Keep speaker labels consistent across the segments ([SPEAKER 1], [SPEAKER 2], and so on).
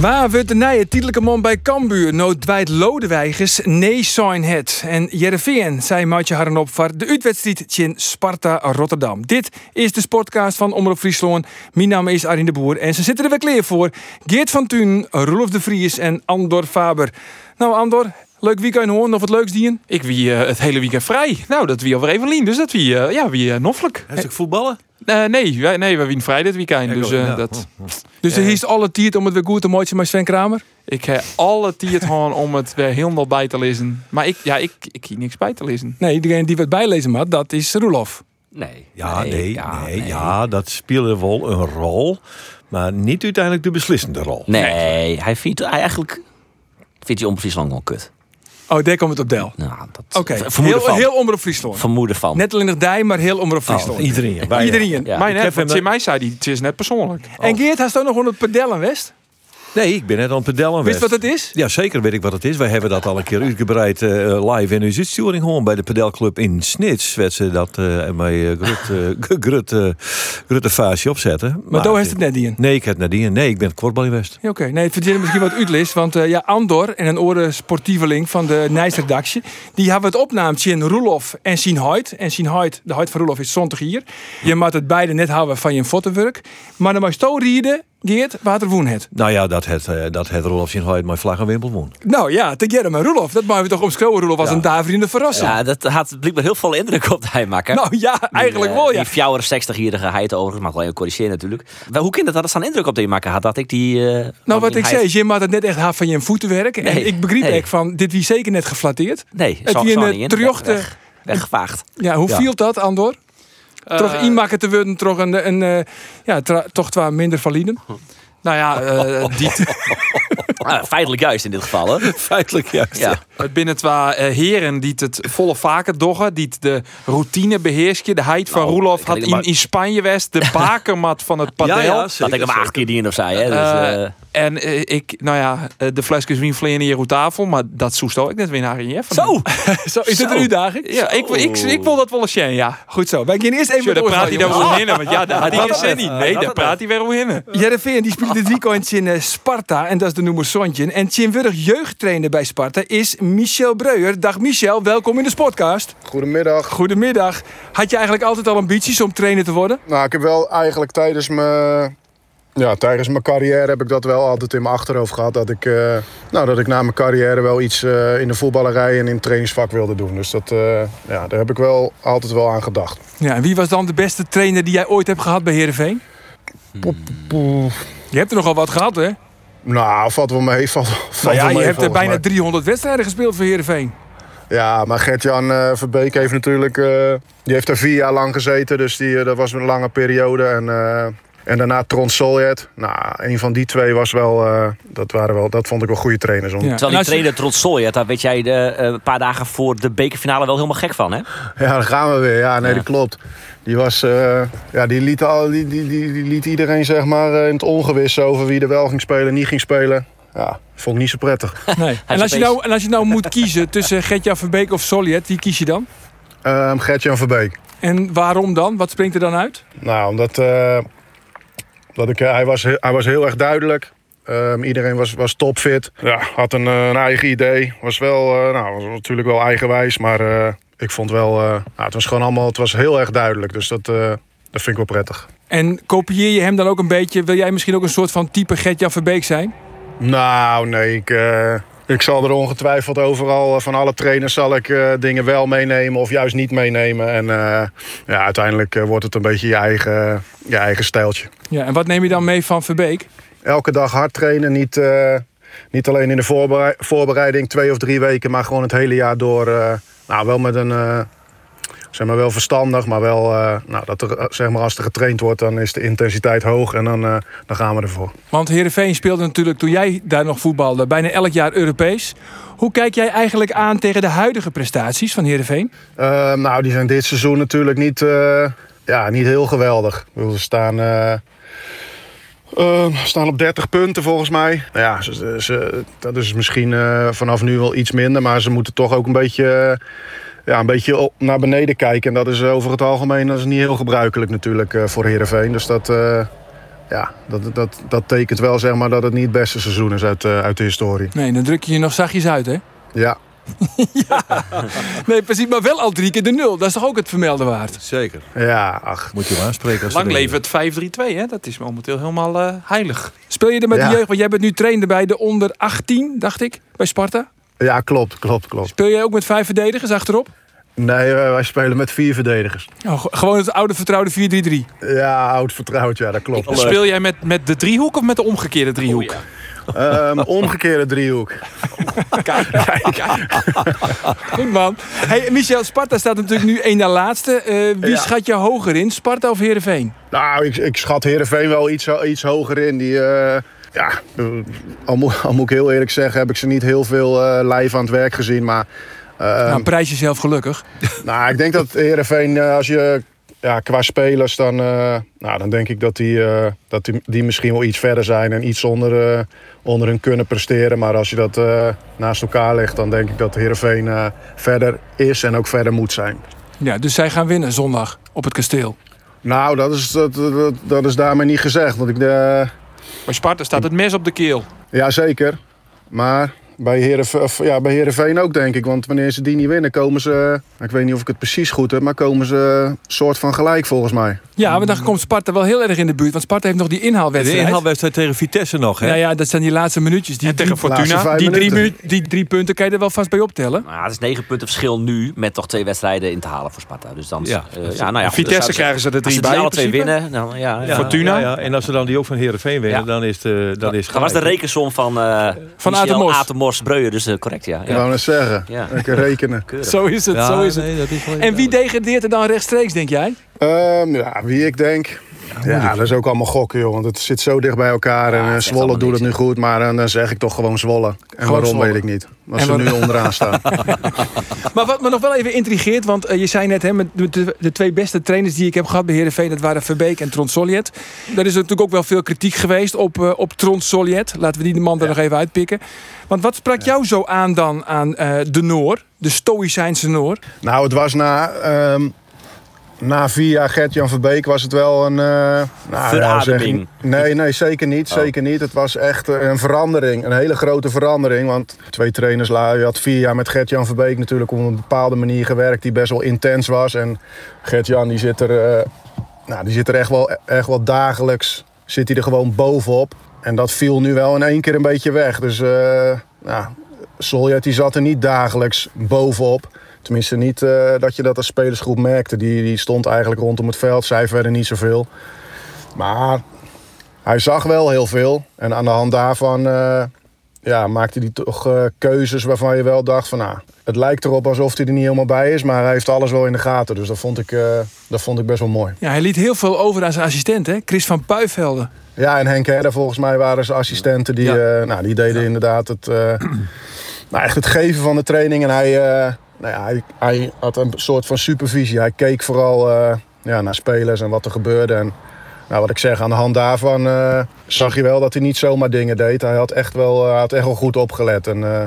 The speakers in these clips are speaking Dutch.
[SPEAKER 1] Waar wordt de nije tijdelijke man bij Cambuur? Nou Dwight Lodewijgers, nee zijn het. En Jereveen, zei Maatje Harrenop voor de uitwedstrijd tegen Sparta Rotterdam. Dit is de sportcast van Omroep Friesland. Mijn naam is Arjen de Boer en ze zitten er weer klaar voor. Geert van Thun, Roelof de Vries en Andor Faber. Nou Andor, leuk weekend hoor, of het leuks dien?
[SPEAKER 2] Ik wie eh, het hele weekend vrij. Nou, dat wie alweer even lien. Dus dat wie, eh, ja, wie eh, noffelijk.
[SPEAKER 3] Heeft voetballen?
[SPEAKER 2] Eh, nee, wij, nee, wij wien vrij dit weekend. dus eh,
[SPEAKER 3] ook, ja. Oh.
[SPEAKER 2] dat,
[SPEAKER 1] Dus er is alle tijd om het weer goed te maken met Sven Kramer.
[SPEAKER 2] ik heb alle tijd gewoon om het weer helemaal bij te lezen. Maar ik, ja, ik, ik hier niks bij te lezen.
[SPEAKER 1] Nee, degene die wat bijlezen had, dat is Roelof.
[SPEAKER 4] Nee.
[SPEAKER 3] Ja, nee, nee, ja, dat speelde wel een rol. Maar niet uiteindelijk de beslissende rol.
[SPEAKER 5] Nee, hij vindt hij eigenlijk vindt hij onprecies lang gewoon kut.
[SPEAKER 1] Oh, daar komt het op del.
[SPEAKER 5] Nou, dat
[SPEAKER 1] Oké,
[SPEAKER 5] ver- vermoeden
[SPEAKER 1] heel,
[SPEAKER 5] van.
[SPEAKER 1] heel Omroep Friesland.
[SPEAKER 5] Vermoeden van.
[SPEAKER 1] Net alleen nog dij, maar heel omroep Friesland.
[SPEAKER 3] Oh, iedereen. bijna.
[SPEAKER 1] Iedereen.
[SPEAKER 5] Ja.
[SPEAKER 2] maar
[SPEAKER 3] ik
[SPEAKER 2] net, want
[SPEAKER 3] heb hem- eh,
[SPEAKER 2] Tim mij zei, die, het is net persoonlijk.
[SPEAKER 1] En Geert, hij staat nog onder het padellen, West.
[SPEAKER 3] Nee, ik ben net aan het pedellen.
[SPEAKER 1] Wist wat het is?
[SPEAKER 3] Ja, zeker weet ik wat het is. Wij hebben dat al een keer uitgebreid eh, live in uw uitsturing gewoon bij de pedelclub in Snits. Werd ze dat eh met eh, Grut, eh, Grut, eh, Grut de Vaasje opzetten.
[SPEAKER 1] Maar toen heeft het net die in.
[SPEAKER 3] Nee, ik heb nadien. Nee, ik ben het kortbal in West.
[SPEAKER 1] Ja, Oké, nee, het verdient misschien wat uitlist. Want eh, ja, Andor en een oren sportieveling van de Nijsredactie... die hebben het opnaamd zien Roelof en zien Hoyt. En zien Hoyt, de Hoyt van Roelof is zondag hier. Je moet het beide net houden van je fotowerk. Maar dan mag je zo rieden, Geert, wat er woen het.
[SPEAKER 3] Nou ja, dat het, eh, dat het Rolf Sinhoy mijn vlag en wimpel won.
[SPEAKER 1] Nou ja, te Gerrit maar Roelof. Dat mogen we toch omschouwen. Roelof was een daarvriende verrassing.
[SPEAKER 5] ja, dat had blijkbaar heel veel indruk op hij maken.
[SPEAKER 1] Nou ja, eigenlijk
[SPEAKER 5] die, eh,
[SPEAKER 1] wel ja.
[SPEAKER 5] Die fjouwer 60-jarige heid overigens, mag wel even corrigeren natuurlijk. Maar hoe kind dat dat zo'n indruk op die maken had, dat ik die... eh,
[SPEAKER 1] Nou,
[SPEAKER 5] van
[SPEAKER 1] wat
[SPEAKER 5] die
[SPEAKER 1] ik
[SPEAKER 5] heid-
[SPEAKER 1] zei, Jim had het net echt hard van je voetenwerk.
[SPEAKER 5] Nee,
[SPEAKER 1] En ik begreep
[SPEAKER 5] nee.
[SPEAKER 1] echt van, dit wie zeker net geflatteerd.
[SPEAKER 5] Nee,
[SPEAKER 1] Het
[SPEAKER 5] zo,
[SPEAKER 1] wie
[SPEAKER 5] zo
[SPEAKER 1] een,
[SPEAKER 5] niet in.
[SPEAKER 1] terjochte-
[SPEAKER 5] Weg- weg- Weggevaagd.
[SPEAKER 1] Ja, hoe
[SPEAKER 3] Ja.
[SPEAKER 1] viel dat, Andor? toch
[SPEAKER 2] Eh,
[SPEAKER 1] inmaken te worden, toch een, een eh, ja, tra- toch waar minder valide.
[SPEAKER 5] Hm.
[SPEAKER 2] Nou ja, eh die,
[SPEAKER 5] Ah, feitelijk juist in dit geval, hè.
[SPEAKER 3] Feitelijk juist.
[SPEAKER 5] Ja.
[SPEAKER 2] het binnen twee heren die het volle vaker doggen. Die het de routine beheersje. De heid van
[SPEAKER 5] Nou,
[SPEAKER 2] Roelof
[SPEAKER 5] ik
[SPEAKER 2] had
[SPEAKER 5] denk
[SPEAKER 2] in,
[SPEAKER 5] maar-
[SPEAKER 2] in Spanje West de bakermat van het padel.
[SPEAKER 5] Dat ik hem acht keer die in of zei, hè. Dus,
[SPEAKER 2] Eh,
[SPEAKER 5] eh,
[SPEAKER 2] en eh, ik, nou ja, eh, de flesjes wien vleien hier op tafel, maar dat soest ook net weer naar je.
[SPEAKER 5] zo!
[SPEAKER 1] Zo, is het een uitdaging?
[SPEAKER 2] Ja, ik, ik, ik wil dat wel eens zien, ja.
[SPEAKER 1] Goed zo. Wij gaan eerst even
[SPEAKER 2] Tjoh, daar
[SPEAKER 1] met
[SPEAKER 2] praat hij
[SPEAKER 1] oordeel,
[SPEAKER 2] daar
[SPEAKER 1] jongens.
[SPEAKER 2] wel heen, want ja, daar die
[SPEAKER 5] had
[SPEAKER 2] is
[SPEAKER 5] het
[SPEAKER 2] er
[SPEAKER 5] net.
[SPEAKER 2] niet. Nee,
[SPEAKER 5] Hij
[SPEAKER 2] daar
[SPEAKER 5] had
[SPEAKER 2] praat hij weer wel heen.
[SPEAKER 1] Jereveen die speelt dit weekend in eh, Sparta en dat is de noemer Sontje. En Tim Wurg jeugdtrainer bij Sparta is Michel Breuer. Dag Michel, welkom in de podcast.
[SPEAKER 6] Goedemiddag.
[SPEAKER 1] Goedemiddag. Had je eigenlijk altijd al ambities om trainer te worden?
[SPEAKER 6] Nou, ik heb wel eigenlijk tijdens mijn, ja, tijdens mijn carrière heb ik dat wel altijd in mijn achterhoofd gehad. Dat ik, eh, nou, dat ik na mijn carrière wel iets eh, in de voetballerij en in het trainingsvak wilde doen. Dus dat, eh, ja, daar heb ik wel altijd wel aan gedacht.
[SPEAKER 1] Ja, en wie was dan de beste trainer die jij ooit hebt gehad bij Heerenveen?
[SPEAKER 6] Poeh.
[SPEAKER 1] Je hebt er nogal wat gehad, hè?
[SPEAKER 6] Nou, valt wel mee. Valt, valt
[SPEAKER 1] Nou ja,
[SPEAKER 6] wel
[SPEAKER 1] je
[SPEAKER 6] mee,
[SPEAKER 1] hebt er
[SPEAKER 6] volgens
[SPEAKER 1] bijna
[SPEAKER 6] mij.
[SPEAKER 1] 300 wedstrijden gespeeld voor Heerenveen.
[SPEAKER 6] Ja, maar Gert-Jan eh, Verbeek heeft natuurlijk... eh, die heeft er vier jaar lang gezeten, dus die, eh, dat was een lange periode. En, eh, en daarna Trond Soljet. Nou, een van die twee was wel... eh, dat, waren wel dat vond ik wel goede trainers. Om,
[SPEAKER 1] Ja.
[SPEAKER 5] Terwijl
[SPEAKER 1] En
[SPEAKER 5] die
[SPEAKER 1] als je-
[SPEAKER 5] trainer trots Solje, daar weet jij de, eh, een paar dagen voor de bekerfinale wel helemaal gek van, hè?
[SPEAKER 6] Ja, daar gaan we weer. Ja, nee,
[SPEAKER 5] Ja.
[SPEAKER 6] dat klopt. Die, was, eh, ja, die, liet al, die, die, die, die liet iedereen zeg maar, eh, in het ongewis over wie er wel ging spelen en niet ging spelen. Ja, vond ik niet zo prettig.
[SPEAKER 1] Nee. En, als je nou, en als je nou moet kiezen tussen Gertjan Verbeek of Soljet, wie kies je dan?
[SPEAKER 6] Ehm Gertjan Verbeek.
[SPEAKER 1] En waarom dan? Wat springt er dan uit?
[SPEAKER 6] Nou, omdat eh, dat ik, eh, hij, was, he- hij was heel erg duidelijk. Ehm, iedereen was, was topfit. Ja, had een, eh, een eigen idee. Was wel, eh, nou, was natuurlijk wel eigenwijs, maar eh, ik vond wel, eh, nou, het was gewoon allemaal, het was heel erg duidelijk. Dus dat, eh, dat vind ik wel prettig.
[SPEAKER 1] En kopieer je hem dan ook een beetje? Wil jij misschien ook een soort van type Gertjan Verbeek zijn?
[SPEAKER 6] Nou, nee, ik, eh, ik zal er ongetwijfeld overal eh, van alle trainers zal ik eh, dingen wel meenemen of juist niet meenemen. En eh, ja, uiteindelijk eh, wordt het een beetje je eigen, eh, je eigen stijltje.
[SPEAKER 1] Ja, en wat neem je dan mee van Verbeek?
[SPEAKER 6] Elke dag hard trainen, niet, eh, niet alleen in de voorberei- voorbereiding twee of drie weken, maar gewoon het hele jaar door. eh, nou, wel met een, eh, zeg maar wel verstandig, maar wel, eh, nou, dat er, eh, zeg maar als er getraind wordt, dan is de intensiteit hoog en dan, eh, dan gaan we ervoor.
[SPEAKER 1] Want Heerenveen speelde natuurlijk toen jij daar nog voetbalde bijna elk jaar Europees. Hoe kijk jij eigenlijk aan tegen de huidige prestaties van Heerenveen?
[SPEAKER 6] Ehm, Eh, nou, die zijn dit seizoen natuurlijk niet, eh, ja, niet heel geweldig. Ik bedoel, Ze staan, eh, eh, staan op 30 punten volgens mij. Nou ja, ze- ze, ze- dat is misschien eh, vanaf nu wel iets minder. Maar ze moeten toch ook een beetje, eh, ja, een beetje op- naar beneden kijken. En dat is eh, over het algemeen dat is niet heel gebruikelijk natuurlijk eh, voor Herenveen. Dus dat, eh, ja, dat, dat, dat tekent wel zeg maar, dat het niet het beste seizoen is uit, eh, uit de historie.
[SPEAKER 1] Nee, dan druk je je nog zachtjes uit, hè?
[SPEAKER 6] Ja.
[SPEAKER 1] Nee, precies, maar wel al drie keer de nul. Dat is toch ook het vermelden waard?
[SPEAKER 3] Zeker.
[SPEAKER 6] Ja, ach.
[SPEAKER 3] Moet je hem aanspreken. Als
[SPEAKER 2] Lang
[SPEAKER 3] ze
[SPEAKER 2] leven het 5-3-2, hè? Dat is momenteel helemaal eh, heilig.
[SPEAKER 1] Speel je er met
[SPEAKER 6] Ja.
[SPEAKER 1] de jeugd? Want jij bent nu trainer bij de onder 18, dacht ik, bij Sparta.
[SPEAKER 6] Ja, klopt, klopt, klopt.
[SPEAKER 1] Speel jij ook met vijf verdedigers achterop?
[SPEAKER 6] Nee, eh, wij spelen met vier verdedigers.
[SPEAKER 1] Oh, ge- gewoon het oude vertrouwde 4-3-3.
[SPEAKER 6] Ja, oud vertrouwd, ja, dat klopt.
[SPEAKER 2] Speel jij met, met de driehoek of met de omgekeerde driehoek?
[SPEAKER 1] Oh,
[SPEAKER 6] Ehm, omgekeerde driehoek.
[SPEAKER 1] Goed man. Hey, Michel, Sparta staat natuurlijk nu één na laatste. Eh, wie
[SPEAKER 6] Ja.
[SPEAKER 1] schat je hoger in, Sparta of Heerenveen?
[SPEAKER 6] Nou, ik, ik schat Heerenveen wel iets, ho- iets hoger in. Die, eh, ja, eh, al, moet, al moet ik heel eerlijk zeggen, heb ik ze niet heel veel eh, lijf aan het werk gezien. Maar eh,
[SPEAKER 1] nou, prijs jezelf gelukkig.
[SPEAKER 6] nou, ik denk dat Heerenveen, eh, als je ja, qua spelers, dan, eh, nou, dan denk ik dat, die, eh, dat die, die misschien wel iets verder zijn. En iets onder, eh, onder hun kunnen presteren. Maar als je dat eh, naast elkaar legt, dan denk ik dat Heerenveen eh, verder is en ook verder moet zijn.
[SPEAKER 1] Ja, dus zij gaan winnen zondag op het kasteel.
[SPEAKER 6] Nou, dat is, dat, dat, dat is daarmee niet gezegd. Want ik, eh,
[SPEAKER 2] Bij Sparta staat het mes op de keel.
[SPEAKER 6] Ja, zeker. Maar bij Heerenveen, of, ja, bij Heerenveen ook, denk ik. Want wanneer ze die niet winnen, komen ze... Ik weet niet of ik het precies goed heb, maar komen ze eh, soort van gelijk volgens mij.
[SPEAKER 1] Ja, want dan komt Sparta wel heel erg in de buurt. Want Sparta heeft nog die
[SPEAKER 3] De
[SPEAKER 1] inhaalwedstrijd.
[SPEAKER 3] inhaalwedstrijd tegen Vitesse nog, hè?
[SPEAKER 1] Nou ja, dat zijn die laatste minuutjes. Die,
[SPEAKER 2] En tegen
[SPEAKER 1] drie,
[SPEAKER 6] laatste
[SPEAKER 2] Fortuna.
[SPEAKER 6] vijf
[SPEAKER 1] die, drie,
[SPEAKER 6] minuten.
[SPEAKER 1] minu- die drie punten kan je er wel vast bij optellen.
[SPEAKER 5] Nou, het is 9 punten verschil nu met toch twee wedstrijden in te halen voor Sparta. Dus dan,
[SPEAKER 3] Ja.
[SPEAKER 5] eh, ja, nou ja, goed,
[SPEAKER 2] Vitesse
[SPEAKER 5] dus als-
[SPEAKER 2] krijgen ze er
[SPEAKER 5] Als
[SPEAKER 2] drie
[SPEAKER 5] ze
[SPEAKER 2] bij.
[SPEAKER 5] die alle
[SPEAKER 2] in
[SPEAKER 5] twee
[SPEAKER 2] principe.
[SPEAKER 5] winnen, dan, ja, ja.
[SPEAKER 3] Ja,
[SPEAKER 2] Fortuna.
[SPEAKER 3] ja, ja. En als ze dan die ook van Heerenveen winnen,
[SPEAKER 5] Ja.
[SPEAKER 3] dan is de, dan is
[SPEAKER 5] Dat was de
[SPEAKER 3] gelijk.
[SPEAKER 5] rekensom van, eh
[SPEAKER 1] Van
[SPEAKER 5] Michel
[SPEAKER 1] Atemos.
[SPEAKER 5] Atemos Breuer, dus eh, correct, ja.
[SPEAKER 6] Ik wou
[SPEAKER 5] ja.
[SPEAKER 6] net zeggen.
[SPEAKER 5] Ja.
[SPEAKER 6] Lekker rekenen.
[SPEAKER 5] Keurig.
[SPEAKER 1] Zo is het,
[SPEAKER 3] Ja,
[SPEAKER 1] zo is het.
[SPEAKER 3] nee, dat is wel-
[SPEAKER 1] En wie degradeert er dan rechtstreeks, denk jij?
[SPEAKER 6] Ehm, ja, wie ik denk... Ja, dat is ook allemaal gokken, joh. Want het zit zo dicht bij elkaar.
[SPEAKER 5] het
[SPEAKER 6] en eh,
[SPEAKER 5] zegt
[SPEAKER 6] Zwolle
[SPEAKER 5] allemaal
[SPEAKER 6] doet het
[SPEAKER 5] niks,
[SPEAKER 6] nu goed, maar eh, dan zeg ik toch gewoon Zwolle. En waarom,
[SPEAKER 1] Zwolle.
[SPEAKER 6] weet ik niet. Als
[SPEAKER 1] En
[SPEAKER 6] ze nu
[SPEAKER 1] waarom-
[SPEAKER 6] onderaan staan.
[SPEAKER 1] Maar wat me nog wel even intrigeert, want eh, je zei net, hè, met de, de- de twee beste trainers die ik heb gehad bij Heerenveen, dat waren Verbeek en Trond Soljet. Daar is natuurlijk ook wel veel kritiek geweest op, eh, op Trond Soljet. Laten we die man er nog even uitpikken. Want wat sprak jou zo aan dan aan eh, de Noor, de Stoïcijnse Noor?
[SPEAKER 6] Nou, het was na, ehm na vier jaar Gert-Jan Verbeek was het wel een... eh, nou, ja,
[SPEAKER 5] Verademing.
[SPEAKER 6] zeg- nee, nee, zeker niet. Zeker niet. Het was echt eh, een verandering. Een hele grote verandering. Want twee trainers, la- je had vier jaar met Gert-Jan Verbeek natuurlijk op een bepaalde manier gewerkt. Die best wel intens was. En Gert-Jan die zit er, eh, nou, die zit er echt, wel, echt wel dagelijks zit hij er gewoon bovenop. En dat viel nu wel in één keer een beetje weg. Dus eh nou, Soljet die zat er niet dagelijks bovenop. Tenminste, niet eh, dat je dat als spelersgroep merkte. Die, die stond eigenlijk rondom het veld, zij verder niet zoveel. Maar hij zag wel heel veel. En aan de hand daarvan eh, ja, maakte hij toch eh, keuzes waarvan je wel dacht van... nou, het lijkt erop alsof hij er niet helemaal bij is, maar hij heeft alles wel in de gaten. Dus dat vond ik, eh, dat vond ik best wel mooi.
[SPEAKER 1] Ja, hij liet heel veel over aan zijn assistent, hè? Chris van Puifelde.
[SPEAKER 6] Ja, en Henk Herder volgens mij waren ze assistenten die,
[SPEAKER 1] Ja.
[SPEAKER 6] eh, nou, die deden inderdaad het, eh, nou, echt het geven van de training. En hij, eh, nou ja, hij, hij had een soort van supervisie. Hij keek vooral eh, ja, naar spelers en wat er gebeurde. En nou, wat ik zeg, aan de hand daarvan eh, zag je wel dat hij niet zomaar dingen deed. Hij had echt wel, eh, hij had echt wel goed opgelet. En eh,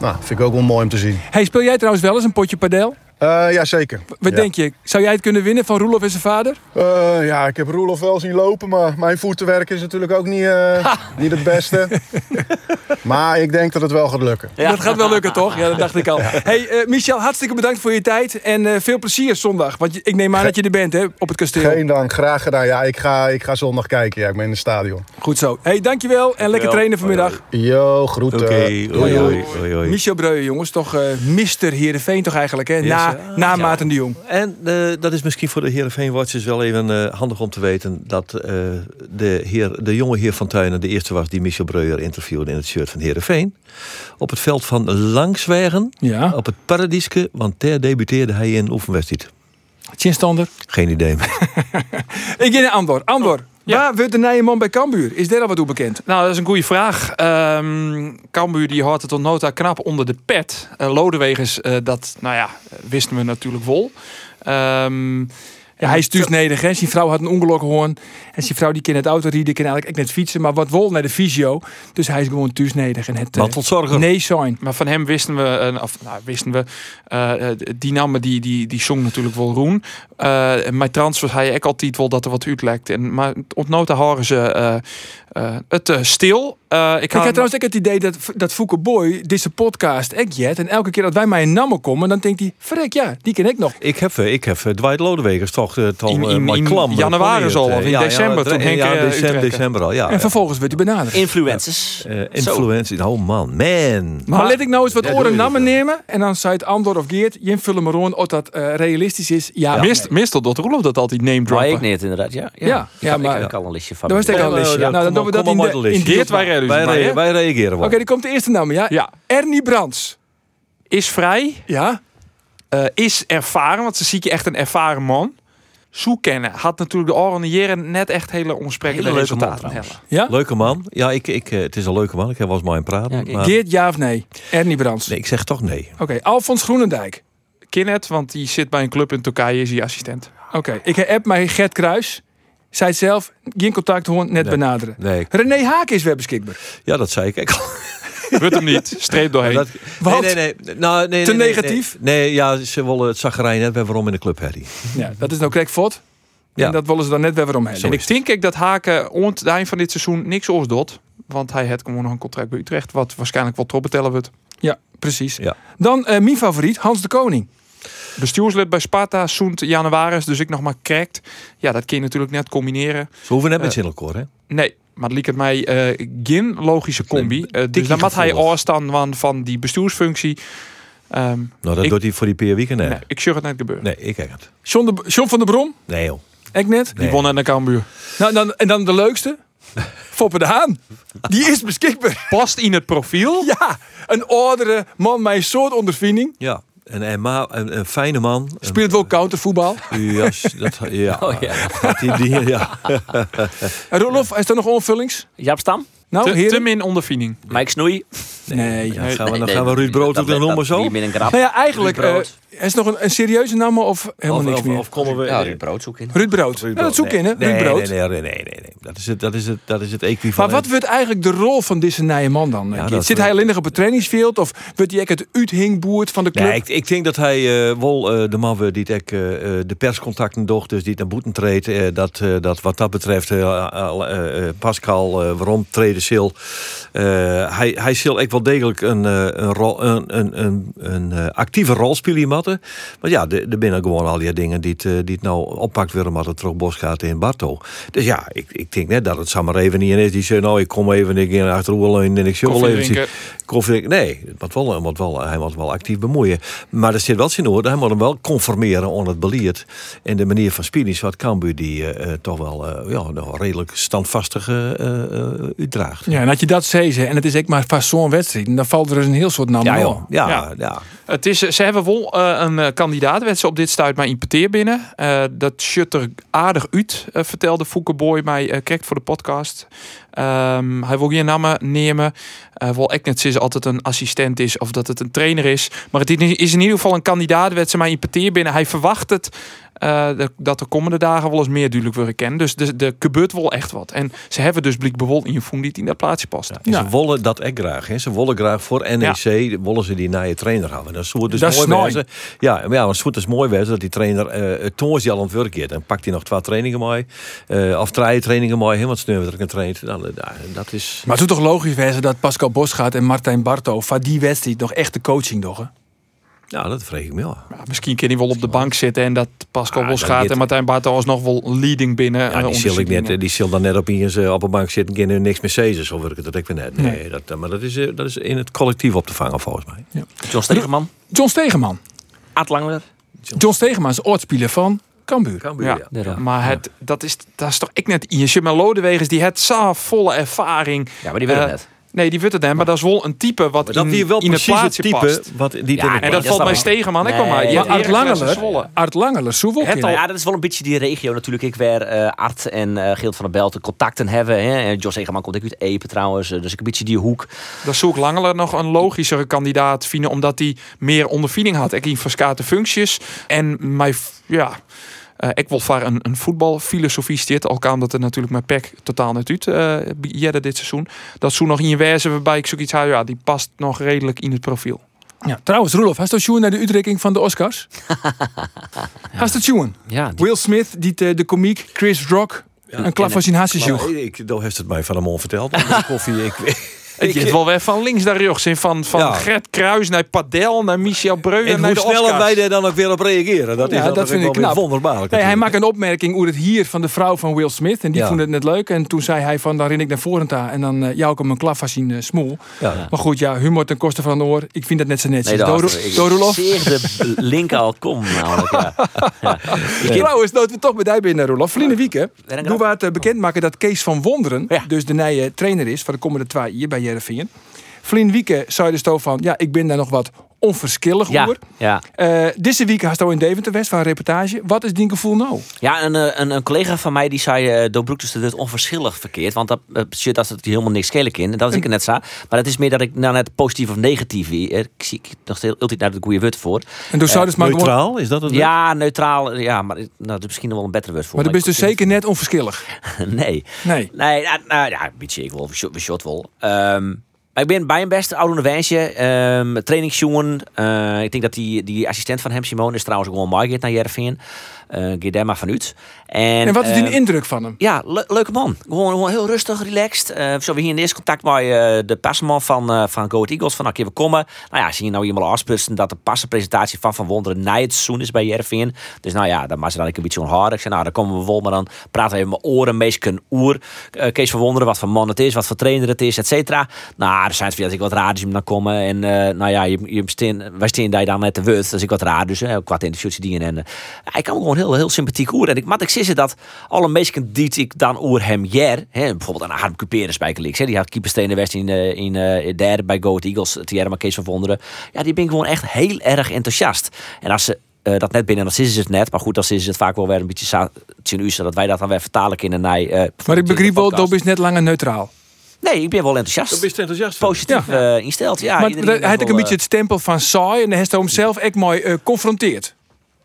[SPEAKER 6] nou, vind ik ook wel mooi om te zien.
[SPEAKER 1] Hey, speel jij trouwens wel eens een potje padel?
[SPEAKER 6] Eh ja, zeker.
[SPEAKER 1] Wat
[SPEAKER 6] Ja.
[SPEAKER 1] denk je? Zou jij het kunnen winnen van Roelof en zijn vader?
[SPEAKER 6] Eh, ja, ik heb Roelof wel zien lopen, maar mijn voetenwerk is natuurlijk ook niet, eh, niet het beste. maar ik denk dat het wel gaat lukken.
[SPEAKER 5] Ja.
[SPEAKER 1] Dat gaat wel lukken, toch? Ja, dat dacht ik al. Hey, eh, Michel, hartstikke bedankt voor je tijd. En eh, veel plezier zondag. Want je- ik neem aan dat je er bent, hè? Op het kasteel.
[SPEAKER 6] Geen dank, graag gedaan. Ja, ik ga, ik ga zondag kijken. Ja, ik ben in het stadion.
[SPEAKER 1] Goed zo. Hey, dankjewel. En lekker trainen vanmiddag.
[SPEAKER 6] Yo, groeten.
[SPEAKER 3] Oké, oei, oei, oei, oei.
[SPEAKER 1] Michel Breuer, jongens. Toch eh Mister Heerenveen toch eigenlijk, hè? Na,
[SPEAKER 3] ja.
[SPEAKER 1] na Maarten de Jong.
[SPEAKER 3] En eh, dat is misschien voor de Heerenveen Watchers wel even eh, handig om te weten... dat eh, de, heer, de jonge heer Van Tuinen de eerste was die Michel Breuer interviewde... in het shirt van Heerenveen. Op het veld van Langswegen,
[SPEAKER 1] Ja.
[SPEAKER 3] op het Paradieske... want daar debuteerde hij in oefenwedstrijd.
[SPEAKER 1] Chinstander.
[SPEAKER 3] Geen idee meer.
[SPEAKER 1] Ik in Andor. Andor.
[SPEAKER 2] ja.
[SPEAKER 1] Waar wordt de nije man bij Cambuur? Is daar al wat toe bekend?
[SPEAKER 2] Nou, dat is een goede vraag. Ehm Cambuur die houdt het tot nota knap onder de pet. Eh Lodewegers, eh, dat nou ja, wisten we natuurlijk wel. Ehm,
[SPEAKER 1] Ja, hij is thuis nederig, hè. Zijn vrouw had een ongeluk gehoord. En zijn vrouw die kan het auto rijden, kan eigenlijk ook net fietsen. Maar wat wil naar de fysio. Dus hij is gewoon thuis nederig. En het eh,
[SPEAKER 3] Mantelzorger.
[SPEAKER 1] nee zijn.
[SPEAKER 2] Maar van hem wisten we, eh, of nou, wisten we, eh, eh, die namen die, die, die zong natuurlijk wel Roen. Eh, en mijn transfers hij ook altijd wel dat er wat uitlekt. En, maar ontnoten horen ze eh, eh, het eh, stil. Eh, ik
[SPEAKER 1] Ik
[SPEAKER 2] had
[SPEAKER 1] heb trouwens ook het idee dat, dat Fouke Boy deze podcast echt jet. En elke keer dat wij maar in Namen komen, dan denkt hij, verrek ja, die ken ik nog.
[SPEAKER 3] Ik heb, eh, ik heb eh, Dwight Lodewegers toch eh, het al
[SPEAKER 2] In-
[SPEAKER 3] eh,
[SPEAKER 2] in-
[SPEAKER 3] maar
[SPEAKER 2] in
[SPEAKER 3] klam, eh,
[SPEAKER 2] januari
[SPEAKER 3] geprobeerd,
[SPEAKER 2] zo al,
[SPEAKER 3] eh.
[SPEAKER 2] of in
[SPEAKER 3] Ja,
[SPEAKER 2] december,
[SPEAKER 3] ja,
[SPEAKER 2] toen
[SPEAKER 3] eh,
[SPEAKER 2] Henk,
[SPEAKER 3] ja,
[SPEAKER 2] eh,
[SPEAKER 3] december,
[SPEAKER 2] Utrecht.
[SPEAKER 3] december al, ja.
[SPEAKER 1] En vervolgens werd hij benaderd.
[SPEAKER 5] Influencers.
[SPEAKER 3] Eh, influentie, oh man, man.
[SPEAKER 1] Maar,
[SPEAKER 2] Maar-
[SPEAKER 1] let ik nou eens wat
[SPEAKER 3] Ja, doe
[SPEAKER 1] oren
[SPEAKER 3] je
[SPEAKER 1] namen
[SPEAKER 3] dat,
[SPEAKER 1] nemen. En dan zei het Andor of Geert. Jim vullen maar rond of dat eh, realistisch is. Ja, ja.
[SPEAKER 2] Mist, meestal dat Roelof dat altijd name
[SPEAKER 5] Maar ik
[SPEAKER 2] droppen.
[SPEAKER 5] niet, inderdaad. Ja, ja.
[SPEAKER 1] Ja,
[SPEAKER 5] Ik
[SPEAKER 1] ja,
[SPEAKER 5] kan- ik
[SPEAKER 1] maar-
[SPEAKER 5] heb ook al een listje van. Eh,
[SPEAKER 1] Dat was denk ik
[SPEAKER 3] Ja,
[SPEAKER 1] al een
[SPEAKER 3] nou,
[SPEAKER 1] listje.
[SPEAKER 3] ja,
[SPEAKER 1] nou, dan
[SPEAKER 3] kom
[SPEAKER 1] doen we
[SPEAKER 3] maar-
[SPEAKER 1] dat in
[SPEAKER 3] kom maar
[SPEAKER 1] de,
[SPEAKER 3] met een
[SPEAKER 1] in
[SPEAKER 3] listje.
[SPEAKER 1] de-
[SPEAKER 2] Geert, wij redden
[SPEAKER 3] Wij,
[SPEAKER 2] dus maar,
[SPEAKER 3] re-
[SPEAKER 2] hè?
[SPEAKER 3] wij reageren
[SPEAKER 1] Oké,
[SPEAKER 3] wel.
[SPEAKER 1] die komt de eerste naam. Ja.
[SPEAKER 2] Ja.
[SPEAKER 1] Ernie Brands.
[SPEAKER 2] Is vrij,
[SPEAKER 1] Ja.
[SPEAKER 2] eh, is ervaren, want ze zie je echt een ervaren man. Zoek kennen. Had natuurlijk de Oranje jaren net echt hele
[SPEAKER 3] Hele
[SPEAKER 2] onsprekende
[SPEAKER 3] leuke man
[SPEAKER 2] resultaten.
[SPEAKER 3] trouwens.
[SPEAKER 2] hebben.
[SPEAKER 1] ja?
[SPEAKER 3] Leuke man. Ja, ik, ik, eh, het is een leuke man. Ik heb wel eens met hem praten.
[SPEAKER 5] Ja,
[SPEAKER 3] maar-
[SPEAKER 1] Geert, ja of nee? Ernie Brands.
[SPEAKER 3] Ehm, nee, ik zeg toch nee.
[SPEAKER 1] Oké, Alfons Groenendijk.
[SPEAKER 2] Kinnet, want die zit bij een club in Turkije, is hij assistent.
[SPEAKER 1] Oké, ik app mij Gert Kruis. Zij zelf, geen contact, gewoon net benaderen.
[SPEAKER 3] Nee, ik-
[SPEAKER 1] René Haak is weer beschikbaar.
[SPEAKER 3] ja, dat zei ik. al.
[SPEAKER 2] Wordt hem niet. Streep doorheen.
[SPEAKER 3] Dat,
[SPEAKER 1] Wat?
[SPEAKER 3] Nee, nee, nee. Nou, nee,
[SPEAKER 1] Te
[SPEAKER 3] nee, nee,
[SPEAKER 1] negatief?
[SPEAKER 3] Nee, Nee, ja, ze willen het zagrijn net weer waarom in de club, Harry.
[SPEAKER 1] Ja, dat is nou correct fot.
[SPEAKER 3] Ja.
[SPEAKER 1] En dat willen ze dan net weer weer omheen.
[SPEAKER 2] En ik denk ik dat Haken rond het eind van dit seizoen niks oorzdot. Want hij heeft gewoon nog een contract bij Utrecht. Wat waarschijnlijk wel trop betellen wordt.
[SPEAKER 1] Ja, precies.
[SPEAKER 3] Ja.
[SPEAKER 1] Dan eh, mijn favoriet, Hans de Koning.
[SPEAKER 2] Bestuurslid bij Sparta, Soent Januaris. Dus ik nog maar krekt. Ja, dat kun je natuurlijk net combineren.
[SPEAKER 3] Ze hoeven net met zin elkaar, hè?
[SPEAKER 2] Nee, maar liep het mij eh geen logische combi. Eh, dus
[SPEAKER 3] tikkie
[SPEAKER 2] dan moet hij
[SPEAKER 3] gevoelig.
[SPEAKER 2] afstand van, van die bestuursfunctie. Ehm,
[SPEAKER 3] Nou, dat
[SPEAKER 2] Ik-
[SPEAKER 3] doet hij voor die per weekend, nee.
[SPEAKER 2] nee, ik zie het net gebeuren.
[SPEAKER 3] Nee, ik kijk het.
[SPEAKER 1] John, de, John van der Brom,
[SPEAKER 3] Nee, joh.
[SPEAKER 1] ik net.
[SPEAKER 2] Die won aan de Cambuur.
[SPEAKER 1] Nou, dan, en dan de leukste. Foppe de Haan. Die is beschikbaar.
[SPEAKER 2] Past in het profiel.
[SPEAKER 1] Ja, een oudere man met een soort ondervinding.
[SPEAKER 3] Ja, en, en ma, een, een fijne man. Een-
[SPEAKER 1] Speelt wel countervoetbal.
[SPEAKER 3] Ja, s- dat, ja.
[SPEAKER 5] Oh, ja.
[SPEAKER 3] Had hij die, ja.
[SPEAKER 1] En Rolof, is er nog onvullings?
[SPEAKER 5] Jaap Stam,
[SPEAKER 1] Nou,
[SPEAKER 2] Te, te
[SPEAKER 1] heren?
[SPEAKER 2] min ondervinding.
[SPEAKER 5] Mike Snoei.
[SPEAKER 1] Nee.
[SPEAKER 3] Ja, dan gaan we,
[SPEAKER 5] Nee,
[SPEAKER 3] dan
[SPEAKER 5] nee,
[SPEAKER 3] gaan we Ruud Brood
[SPEAKER 5] dat-
[SPEAKER 3] ook nog
[SPEAKER 5] dat-
[SPEAKER 3] noemen zo?
[SPEAKER 5] Die
[SPEAKER 3] Of,
[SPEAKER 5] met een grap.
[SPEAKER 1] Nou ja, eigenlijk
[SPEAKER 5] Ruud
[SPEAKER 1] eh
[SPEAKER 5] Brood.
[SPEAKER 1] is nog een, een serieuze naam of helemaal niks
[SPEAKER 3] of-
[SPEAKER 1] meer.
[SPEAKER 3] of komen we...
[SPEAKER 5] Ja, Ruud Brood zoek in.
[SPEAKER 1] Ruud Brood. Ja, dat zoek
[SPEAKER 3] nee.
[SPEAKER 1] in, hè?
[SPEAKER 3] Nee,
[SPEAKER 1] Ruud Brood.
[SPEAKER 3] Nee, nee, nee, nee, nee, nee. Dat is het, dat is het, dat is het
[SPEAKER 1] Maar
[SPEAKER 3] equivalent.
[SPEAKER 1] wat wordt eigenlijk de rol van deze nieuwe man dan? eh, Geert?
[SPEAKER 3] dat-
[SPEAKER 1] Zit hij alleen nog op het trainingsveld of wordt hij echt het uithingboerd van de club?
[SPEAKER 3] Nee, ik, ik denk dat hij eh, wel eh, de man wordt die het ook, eh, eh, de perscontacten docht, dus die het naar boeten treedt. eh, dat, eh, dat wat dat betreft, eh, al, eh, eh, Pascal, eh, waarom treden Sil? eh, hij, hij zal ook wel degelijk een, eh, een, rol, een, een, een, een eh, actieve rol spelen, matten. Maar ja, er er binnen gewoon al die dingen die het, eh, die het nou oppakt weer omdat het terug bos gaat in Barto. Dus ja, ik, ik denk net dat het Sammer even niet in is. Die zegt, nou, ik kom even ik in achter Roerleun en ik zal
[SPEAKER 2] Koffie
[SPEAKER 3] even zien.
[SPEAKER 2] drinken.
[SPEAKER 3] Koffie, nee, het moet wel, het moet wel, hij moet wel actief bemoeien. Maar er zit wel zin hoor, hij moet hem wel conformeren aan het beleid. En de manier van spelen is wat Cambuur die eh, eh, toch wel eh, ja, nog redelijk standvastig eh, eh, eh, uitdraagt.
[SPEAKER 1] Ja, en als je dat zegt hè, en het is echt maar vast zo'n wedstrijd, dan valt er dus een heel soort naam
[SPEAKER 3] Ja,
[SPEAKER 1] door.
[SPEAKER 3] joh. ja,
[SPEAKER 2] Ja.
[SPEAKER 3] ja.
[SPEAKER 2] Het is, ze hebben wel eh, een eh, kandidaat, werd ze op dit stuit maar importeer binnen. Eh, dat shut er aardig uit, eh, vertelde Fouke Boy mij eh correct voor de podcast. Ehm, hij wil geen namen nemen. Eh wel echt net ze altijd een assistent is of dat het een trainer is. Maar het is in ieder geval een kandidaat, werd ze maar importeer binnen. Hij verwacht het. eh, dat- dat de komende dagen wel eens meer duidelijk worden kennen. Dus er er gebeurt wel echt wat. En ze hebben dus blijkbaar in je voet die in dat plaatsje past.
[SPEAKER 3] En
[SPEAKER 1] Ja.
[SPEAKER 3] Ze wollen dat echt graag. Hè. Ze wollen graag voor NEC wollen ze die nieuwe trainer hebben. Dat zou het dus
[SPEAKER 1] Dat is
[SPEAKER 3] mooi
[SPEAKER 1] sneu.
[SPEAKER 3] wezen. Ja, maar ja, maar het zou dus mooi wezen dat die trainer eh het toons die al aan het werk is. Dan pakt hij nog twee trainingen mee. eh of drie trainingen mee. hè, Want sneu wordt er een trainer. Nou, eh, nou, dat is...
[SPEAKER 1] Maar het zou toch logisch zijn dat Pascal Bosgaard en Martijn Barto van die wedstrijd nog echt de coaching doggen?
[SPEAKER 3] Ja, Nou, dat vreeg ik me ja.
[SPEAKER 2] Ja, misschien kan hij wel op de bank zitten en dat Pascal
[SPEAKER 3] Ah,
[SPEAKER 2] Bos
[SPEAKER 3] dat
[SPEAKER 2] gaat
[SPEAKER 3] dit-
[SPEAKER 2] en Martijn Bartel alsnog wel leading binnen. eh,
[SPEAKER 3] Ja, die
[SPEAKER 2] onder
[SPEAKER 3] zal, ik
[SPEAKER 2] Sittingen.
[SPEAKER 3] net, die zal dan net op in zijn appelbank zitten en kunnen niks meer zezen. Zo werkt het dat ik weer net. Nee, dat, eh, maar dat is, eh, dat is in het collectief op te vangen volgens mij.
[SPEAKER 5] John Stegeman.
[SPEAKER 1] John Stegeman.
[SPEAKER 5] Aad Langler.
[SPEAKER 1] John Stegeman is oortspeler van Cambuur.
[SPEAKER 3] Cambuur,
[SPEAKER 2] Ja.
[SPEAKER 3] ja.
[SPEAKER 5] De Ram.
[SPEAKER 2] Maar het, dat, is, dat is toch ik net Iersje. Maar Lodewegers die het zo volle ervaring.
[SPEAKER 5] Ja, maar die willen
[SPEAKER 2] Eh,
[SPEAKER 5] net.
[SPEAKER 2] Nee, die wordt het net, maar dat is wel een type wat
[SPEAKER 3] Maar dat
[SPEAKER 2] in,
[SPEAKER 3] hier wel
[SPEAKER 2] in het
[SPEAKER 3] precies het
[SPEAKER 2] plaatsje
[SPEAKER 3] type
[SPEAKER 2] past.
[SPEAKER 3] wat die
[SPEAKER 5] Ja,
[SPEAKER 3] ja,
[SPEAKER 2] En
[SPEAKER 5] Nee,
[SPEAKER 2] dat
[SPEAKER 5] dat
[SPEAKER 2] valt mij
[SPEAKER 5] snap ik.
[SPEAKER 2] stegen, man. Ik kom
[SPEAKER 5] Nee,
[SPEAKER 2] maar.
[SPEAKER 5] ja,
[SPEAKER 2] Ja,
[SPEAKER 1] Maar Art
[SPEAKER 2] Art
[SPEAKER 1] Langeler, Art Langeler,
[SPEAKER 2] Het
[SPEAKER 1] Soewelkin.
[SPEAKER 2] al.
[SPEAKER 5] Ja, dat is wel een beetje die regio natuurlijk. Ik waar eh, Art en eh Geelt van der Belten contacten hebben. Hè. En Jos Egeman komt ook uit Epe trouwens. eh, Dus ik een beetje die hoek.
[SPEAKER 2] Dan zoek Langeler nog een logischere kandidaat vinden, omdat hij meer ondervinding had. Ik in verskate functies. En mij, f- ja, Eh, ik wil vaar een, een voetbalfilosofie zit, al kan dat er natuurlijk met PEC totaal net uit eh, bij Jelle dit seizoen. Dat zoen nog in wijze waarbij ik zoiets had, ja, die past nog redelijk in het profiel.
[SPEAKER 1] Ja, trouwens, Roelof, had je Sjoen naar de uitreiking van de Oscars? Had je Sjoen?
[SPEAKER 5] Ja, die-
[SPEAKER 1] Will Smith, die te- de komiek, Chris Rock, een klap van zijn hassen joeg.
[SPEAKER 3] Nou, ik, daar heeft het mij van Amon verteld. maar met koffie, ik,
[SPEAKER 2] Het is wel weer van links naar rechts. hè. Van, van
[SPEAKER 3] Ja.
[SPEAKER 2] Gert Kruis naar Padel, naar Michel Breuer,
[SPEAKER 3] en
[SPEAKER 2] naar
[SPEAKER 3] hoe
[SPEAKER 2] de
[SPEAKER 3] sneller
[SPEAKER 2] Oscars.
[SPEAKER 3] wij daar dan ook weer op reageren. Dat is
[SPEAKER 1] Ja,
[SPEAKER 3] dan
[SPEAKER 1] dat
[SPEAKER 3] ook
[SPEAKER 1] vind
[SPEAKER 3] wel
[SPEAKER 1] ik
[SPEAKER 3] weer
[SPEAKER 1] knap.
[SPEAKER 3] wonderbaarlijk.
[SPEAKER 1] Nee, hij
[SPEAKER 3] natuurlijk.
[SPEAKER 1] maakt een opmerking over het hier van de vrouw van Will Smith. En die
[SPEAKER 3] Ja.
[SPEAKER 1] vond het net leuk. En toen zei hij van, dan ren ik naar voren ta En dan eh jou ik hem een klap van zijn eh, smoel.
[SPEAKER 3] ja.
[SPEAKER 1] Maar goed, ja, humor ten koste van de oor. Ik vind dat net zo netjes.
[SPEAKER 5] Nee,
[SPEAKER 1] Door-
[SPEAKER 5] daarachter. Ik
[SPEAKER 1] door Roelof.
[SPEAKER 5] Zeer de link al kom. Namelijk, ja.
[SPEAKER 1] Trouwens, dat we toch bij die binnen, Roelof. Verleden week, hè,
[SPEAKER 5] Werk
[SPEAKER 1] doen we het eh, bekendmaken dat Kees van Wonderen...
[SPEAKER 5] Ja.
[SPEAKER 1] dus de nieuwe trainer is van de komende twee hier bij Jereveen. Verleden week zei de stoof van... ja, ik ben daar nog wat onverschillig
[SPEAKER 5] Ja,
[SPEAKER 1] over.
[SPEAKER 5] ja.
[SPEAKER 1] Eh deze week had hij in Deventer West van een reportage. Wat is die gevoel nou?
[SPEAKER 5] ja een, eh, een, een collega van mij die zei... eh doorbroek dus het onverschillig verkeerd. Want dat eh, shit, dat is natuurlijk helemaal niks schelen in. En dat is ik er net zo. Maar het is meer dat ik nou net positief of negatief... eh, Ik zie ik nog steeds altijd naar de goede word voor.
[SPEAKER 1] En toen zou dus maar gewoon...
[SPEAKER 3] Neutraal, is dat het?
[SPEAKER 5] Ja, neutraal. eh, Ja, maar eh, nou, dat is misschien nog wel een betere word voor.
[SPEAKER 1] Maar dat is dus zeker net onverschillig.
[SPEAKER 5] Nee.
[SPEAKER 1] Nee.
[SPEAKER 5] Nee, nou, nou ja, weet je, ik wil, we shot wel. Ehm, maar ik ben bij hem best oude wijsje. Ehm trainingsjongen. Eh, ik denk dat die, die assistent van hem, Simone, is trouwens ook gewoon Margit naar Jervin. Eh Guillermo van Ut. En,
[SPEAKER 1] En wat is die
[SPEAKER 5] ehm,
[SPEAKER 1] indruk van hem?
[SPEAKER 5] ja, le- leuke man. Gewoon, gewoon heel rustig, relaxed. Eh, zo we hier in eerste contact met eh, de pasman van, eh van Go Ahead Eagles. Van, oké, we komen. Nou ja, zie je nou iemand afsprutsen dat de passenpresentatie van Van Wonderen na het seizoen is bij Jervin. Dus nou ja, dan maakt ze dan een beetje onhard. Ik zei, nou, dan komen we wel. Maar dan praten we even mijn oren, meesken oer. Eh, Kees Van Wonderen, wat voor man het is, wat voor trainer het is, et cetera. Nou, er zijn dat ik wat raar dus hem dan komen. En eh, nou ja, je, je steen, Eh, wij steen daar dan net de wut. Dat is ik wat raar dus. Hè, qua interviews die en en. eh, Hij kan gewoon heel, heel sympathiek oer. En ik, maar ik zie ze dat alle mensen die ik dan oer hem jer. Hè, bijvoorbeeld aan Harm Cuperus bij Kelix, hè Die had keeperstenen West in, eh, in eh, derde bij Go Ahead Eagles. Thierry maar Kees van Wonderen. Ja, die ben ik gewoon echt heel erg enthousiast. En als ze eh, dat net binnen, dan is het net. Maar goed, dan is het vaak wel weer een beetje sa- tien uur, zodat wij dat dan weer vertalen kunnen naar. eh,
[SPEAKER 1] Maar ik begreep wel,
[SPEAKER 5] podcast.
[SPEAKER 1] Dob is net langer neutraal.
[SPEAKER 5] Nee, ik ben wel enthousiast.
[SPEAKER 3] Dat is enthousiast. van.
[SPEAKER 5] positief eh, ingesteld. Ja,
[SPEAKER 1] maar
[SPEAKER 5] iedereen
[SPEAKER 1] hij had ook
[SPEAKER 5] wel,
[SPEAKER 1] een
[SPEAKER 5] eh,
[SPEAKER 1] beetje het stempel van saai. En dan heeft hij hem zelf ook mooi eh, confronteerd.